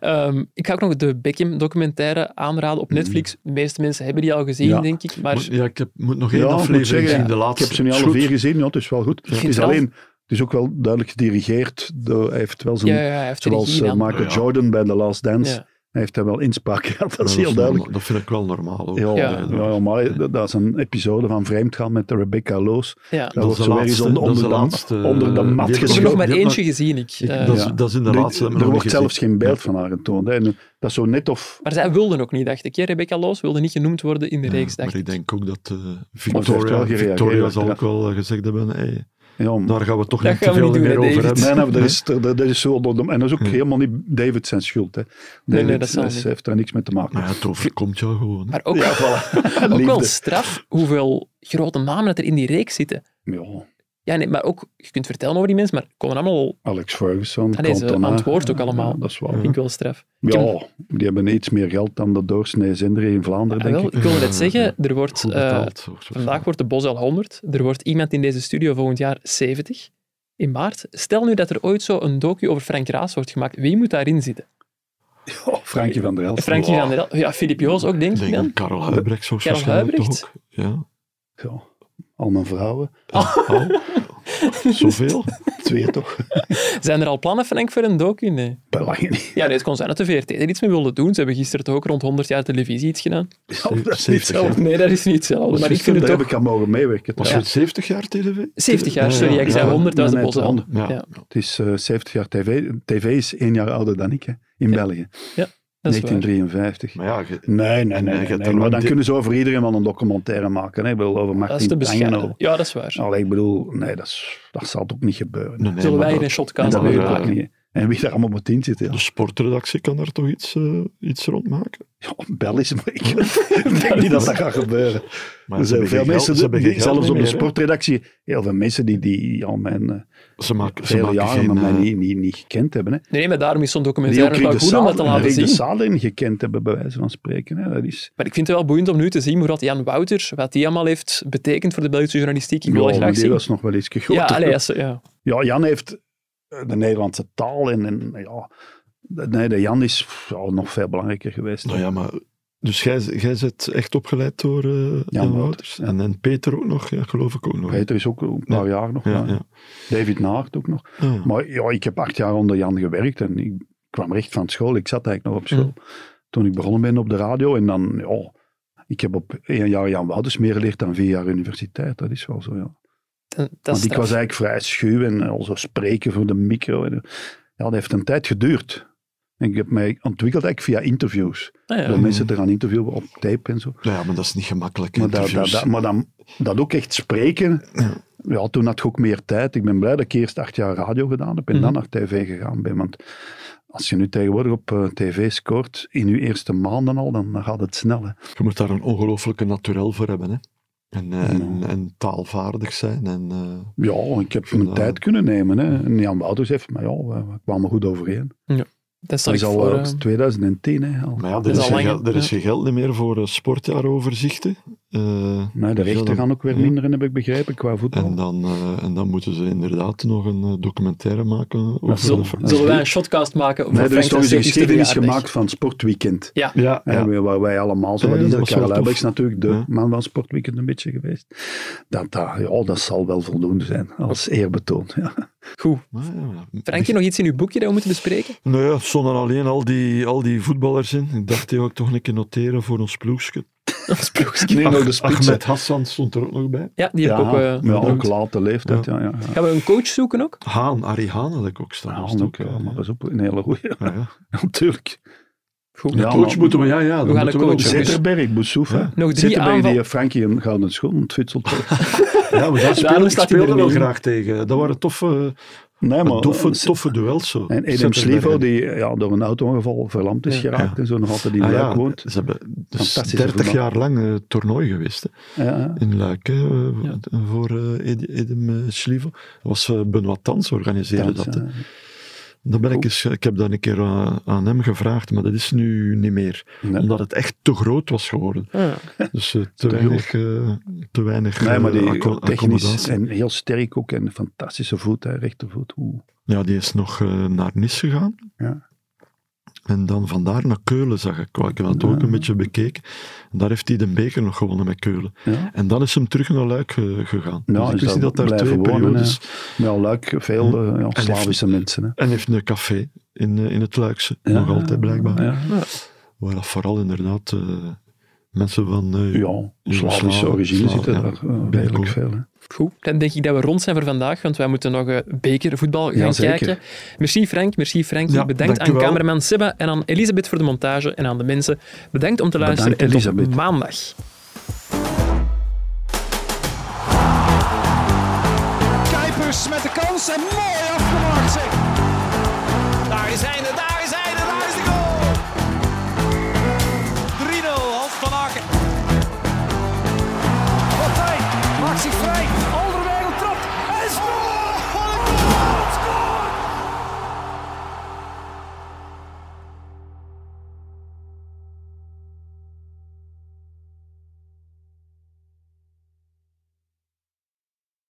Ehm, ik ga ook nog de Beckham-documentaire aanraden op Netflix. De meeste mensen hebben die al gezien,
Ja.
denk ik. Maar
Moet- Ja, ik heb, moet nog één
ik moet
aflevering
zeggen,
zien, de
ja,
laatste.
Ik heb ze nu
Is
alle
goed.
vier gezien, ja, het is wel goed. Het
vind
is
wel-
alleen, het is ook wel duidelijk gedirigeerd. De- Hij heeft wel zijn,
ja, ja, hij heeft er
zoals
regie
eh,
aan.
Michael
Ja.
Jordan bij The Last Dance,
Ja.
hij heeft daar wel inspraak gehad. Dat
Maar
is heel duidelijk.
normaal. Dat vind ik wel eh, normaal ook.
Ja,
Ja.
ja. maar dat- dat is een episode van Vreemdgaan met Rebecca Loos.
Ja.
is
Dat wordt
de
zo weer eens
laatste-
onder,
dat is
onder,
de
de,
laatste,
onder de
eh,
mat
die
Ik
gezien.
heb er nog
gezogen.
maar
Ja,
eentje gezien. Ik.
Ik-
Eh,
dat,
ja.
is, dat is in de
Er-
laatste. hebben we
Er
nog
wordt
niet
zelfs
gezien.
geen beeld van haar getoond. hè. En dat is zo net of...
Maar zij wilden ook niet, dacht ik. hè. Rebecca Loos wilde niet genoemd worden in de
Ja,
reeks, dacht
maar ik
ik.
denk ook dat eh,
wel
Victoria,
gereageerd,
Victoria zal
ja.
ook wel eh, gezegd hebben, hey,
Ja, maar-
daar gaan we toch
Dat
niet te
gaan we
veel
niet doen,
meer
hè,
over
David.
hebben.
Nee, nee, maar dat is, er- dat is zo... door de- En dat is ook helemaal niet David zijn schuld. Hè. David
nee, dat zal
is-
niet.
heeft daar niks mee te maken.
Maar ja, het overkomt jou gewoon.
Maar ook,
Ja, voilà.
ook wel
Liefde.
straf hoeveel grote namen dat er in die reeks zitten.
Ja,
Ja, nee, maar ook, je kunt vertellen over die mensen, maar komen allemaal
Alex Ferguson,
Ah, nee, ze
Cantona.
antwoordt ook allemaal.
Ja, dat is wel...
vind ik wel straf. Ik heb-
Ja, die hebben iets meer geld dan de doorsnee zender in Vlaanderen,
Ah,
denk
wel,
ik.
ik wilde net
Ja,
zeggen, er wordt,
Goed
eh,
betaald. of zo.
vandaag wordt de Bos al 100. Er wordt iemand in deze studio volgend jaar 70. In maart. Stel nu dat er ooit zo een docu over Frank Raas wordt gemaakt. Wie moet daarin zitten?
Oh, Frankie van der Elst.
Frankie
Wow.
van der El- Ja, Filip Joos ook, denk
Ik
ik
denk aan
dan.
Karel Huibrecht zo
Karel
waarschijnlijk
Huibrecht?
toch ook. Ja.
Ja, al mijn vrouwen.
Oh, zoveel?
Twee toch?
Zijn er al plannen, Frank, voor een docu? Nee.
Bij lange niet.
Ja, nee, het kon zijn dat de VRT er iets mee wilde doen. Ze hebben gisteren toch ook rond 100 jaar televisie iets gedaan.
dat is niet
70
hetzelfde.
jaar.
Nee, dat is niet hetzelfde. Maar ik vind het
Daar
ook...
heb ik aan mogen meewerken.
Was
trouwens.
het 70 jaar TV?
70 jaar,
Ja,
sorry,
ja,
ik zei
ja.
100, dat was de
Nee, nee,
Bos al.
honderd.
Ja.
Ja.
Het is eh, 70 jaar tv. TV is één jaar ouder dan ik, hè, in België.
Dat is waar.
1953.
Maar ja, ge-
Nee,
Nee,
nee, nee.
je
nee,
hebt
nee.
er
Maar
wel
dan
di-
kunnen ze over iedereen wel een documentaire maken. Hè. Ik bedoel, over
Dat is te
Martin
bescheiden.
Tangelo.
Ja, dat is waar.
Allee, ik bedoel, nee, dat, is, dat zal toch niet gebeuren.
nee, nee,
Zullen
maar
wij hier
dat-
een shotcast
dat-
mee
dat-
maken? Dus-
niet. En wie daar allemaal moet in zitten. Ja.
De sportredactie kan daar toch iets, eh, iets rond maken?
Ja, bel is, maar ik ik denk niet dat dat gaat gebeuren.
Maar
er
ze
zijn
hebben
veel
geen
mensen,
geld- ze hebben
die-
geen geld
zelfs op
meer,
de
hè.
sportredactie, heel veel mensen die, die al mijn eh,
Ze maken, ze
vele
maken
jaren
geen...
met mij
eh,
niet, niet, niet gekend hebben. Hè.
Nee, nee, maar daarom is zo'n
Die ook
documentaire
Rick
wel
de,
goed om dat te
Saal,
laten
Rick de
zien.
Saal in gekend hebben, bij wijze van spreken. Hè. Dat is,
Maar ik vind het wel boeiend om nu te zien hoe dat Jan Wouters, wat die allemaal heeft betekend voor de Belgische journalistiek. Ik wil dat
Ja, maar
graag
die
zien.
was nog wel iets groter.
Ja, allee, als, ja.
Ja, Jan heeft eh, de Nederlandse taal en, en ja, de- nee, de Jan is pff, ja, nog veel belangrijker geweest.
Nou ja, maar... Dus jij, jij bent echt opgeleid door eh Jan,
Wouters,
Wouters.
ja.
En, en Peter ook nog, ja, geloof ik ook nog.
Peter is ook een paar jaar nog.
Ja, Ah.
maar
ja.
David Naert ook nog.
Ja.
Maar ja, ik heb acht jaar onder Jan gewerkt en ik kwam recht van school. Ik zat eigenlijk nog op school.
Mm.
Toen ik begonnen ben op de radio en dan, ja, ik heb op één jaar Jan Wouters meer geleerd dan vier jaar universiteit. Dat is wel zo, ja.
Dat, dat is
Want ik
straf.
was eigenlijk vrij schuw en eh, al zo spreken voor de micro. En, eh, ja, dat heeft een tijd geduurd. En ik heb mij ontwikkeld eigenlijk via interviews.
Ah, ja.
Door mensen te gaan interviewen op tape en zo.
Nou ja, maar dat is niet gemakkelijk.
Maar, dat, dat,
interviews.
dat- maar dan, dat ook echt spreken.
Ja.
Ja, toen had ik ook meer tijd. Ik ben blij dat ik eerst acht jaar radio gedaan heb en
Mhm.
dan naar tv gegaan ben. Want als je nu tegenwoordig op eh, tv scoort, in je eerste maanden al, dan dan gaat het snel. Hè.
Je moet daar een ongelooflijke naturel voor hebben. Hè? En, eh, en, en taalvaardig zijn. En, eh,
Ja, ik heb mijn
Ja.
tijd kunnen nemen. Hè. En Jan Wouters heeft, maar ja, we, we kwamen goed overeen.
Dat
Dat
stel ik
is al
voor.
eh,
eh,
2010. Hè, al. Dus
maar ja,
Dat
er
is
is, geen,
al lang,
geld- er is
ja.
geen geld meer voor eh, sportjaaroverzichten. Eh,
Nee, de
Dus ja,
rechten
dan-
gaan ook weer
ja.
minderen, heb ik begrepen, qua voetbal.
en, dan, eh, en dan moeten ze inderdaad nog een eh, documentaire maken. Over
zullen,
de-
zullen wij een shotcast maken? voor
Nee, er
Frank
is
de
toch eens een
70ste
geschiedenis
verjaardag?
gemaakt van Sportweekend.
Ja,
Ja.
ja.
waar wij allemaal zo
Ja,
wat
dat
in zijn.
was wel
Karel
tof.
Huibrechts natuurlijk de
Ja.
man van Sportweekend een beetje geweest. Dat, dat, ja, oh, dat zal wel voldoende zijn, als eerbetoon. Ja.
Goed.
Maar ja, ja.
Frankje, nog iets in uw boekje dat we moeten bespreken?
Nou ja, stonden alleen al die, al die voetballers in. Ik dacht, die wil ik toch een keer noteren voor ons ploegje.
Nu nog de spitsen.
Ahmed Hassan stond er ook nog bij.
Ja, die heb ik
Ja,
ook. eh,
ja, ook
genoemd.
late leeftijd. Ja. Ja, ja.
Gaan we een coach zoeken ook?
Haan, Arie Haan had ik ook staan.
Ja,
Dat is
ook,
ook,
ja,
eh,
maar dat is ook een hele goeie.
ja, ja.
Natuurlijk.
Goed.
Ja,
Coach
maar-
moeten we, ja, ja.
gaan
dan
de
moeten we
coach
ook zeggen.
zoeken.
Zetterberg, Boussouf. hè.
Nog drie
Zetterberg die
aanval-
eh, Frankie een gouden schoen ontfutselt.
Ja, maar daar speelde,
Daarom
ik
staat hij er
speelde wel
niet in.
graag tegen. Dat waren toffe,
nee, maar, eh,
toffe, toffe duels. Zo.
En Edem
Zetterberg.
Slivo, die eh, ja, door een auto-ongeval verlamd is
Ja.
geraakt en zo nog altijd in
Ah,
Luik
ja,
woont.
Ze hebben dus
Fantastische
30
voetbal.
jaar lang eh, toernooi geweest hè,
Ja,
in Luik hè, eh,
Ja.
w- voor eh, Ed- Edem eh, Slivo. Dat was eh, Benoit Tans organiseerde
dat,
dat.
eh,
hè. Dan ben ik, eens, ik heb dat een keer aan, aan hem gevraagd, maar dat is nu niet meer.
Nee.
Omdat het echt te groot was geworden.
Ah,
Dus eh, te, weinig, eh, te weinig
Nee, maar
eh,
die
acco-
technisch
accommodatie.
en heel sterk ook. En een fantastische voet, hè, rechtervoet. Oeh.
Ja, die is nog eh, naar Nice gegaan.
Ja.
En dan vandaar naar Keulen, zag ik. Ik heb dat ook een beetje bekeken. En daar heeft hij de beker nog gewonnen met Keulen.
Ja.
En dan is hem terug naar Luik eh, gegaan.
Nou,
dus ik
is
wist niet dat
dat
daar twee
blijven wonen,
periodes...
Met al luik
Hm.
veel eh, ja,
heeft-
Slavische mensen. Hè.
En heeft een café in, eh, in het Luikse. nog altijd blijkbaar.
Ja,
Waar dat vooral inderdaad eh, mensen van... eh,
ja Slavische
Slaven,
origine
Slaven,
zitten
ja.
daar eh,
Bij
redelijk
elkaar.
veel. Hè.
goed, dan denk ik dat we rond zijn voor vandaag, want wij moeten nog eh, bekervoetbal gaan
Ja, zeker.
kijken. Merci Frank, merci Frankie.
Ja,
bedankt aan
dankjewel.
cameraman Seba en aan Elisabeth voor de montage en aan de mensen. Bedankt om te luisteren
Bedankt,
en tot
Elisabeth.
maandag.
Kuipers met de kans en mooi afgemaakt.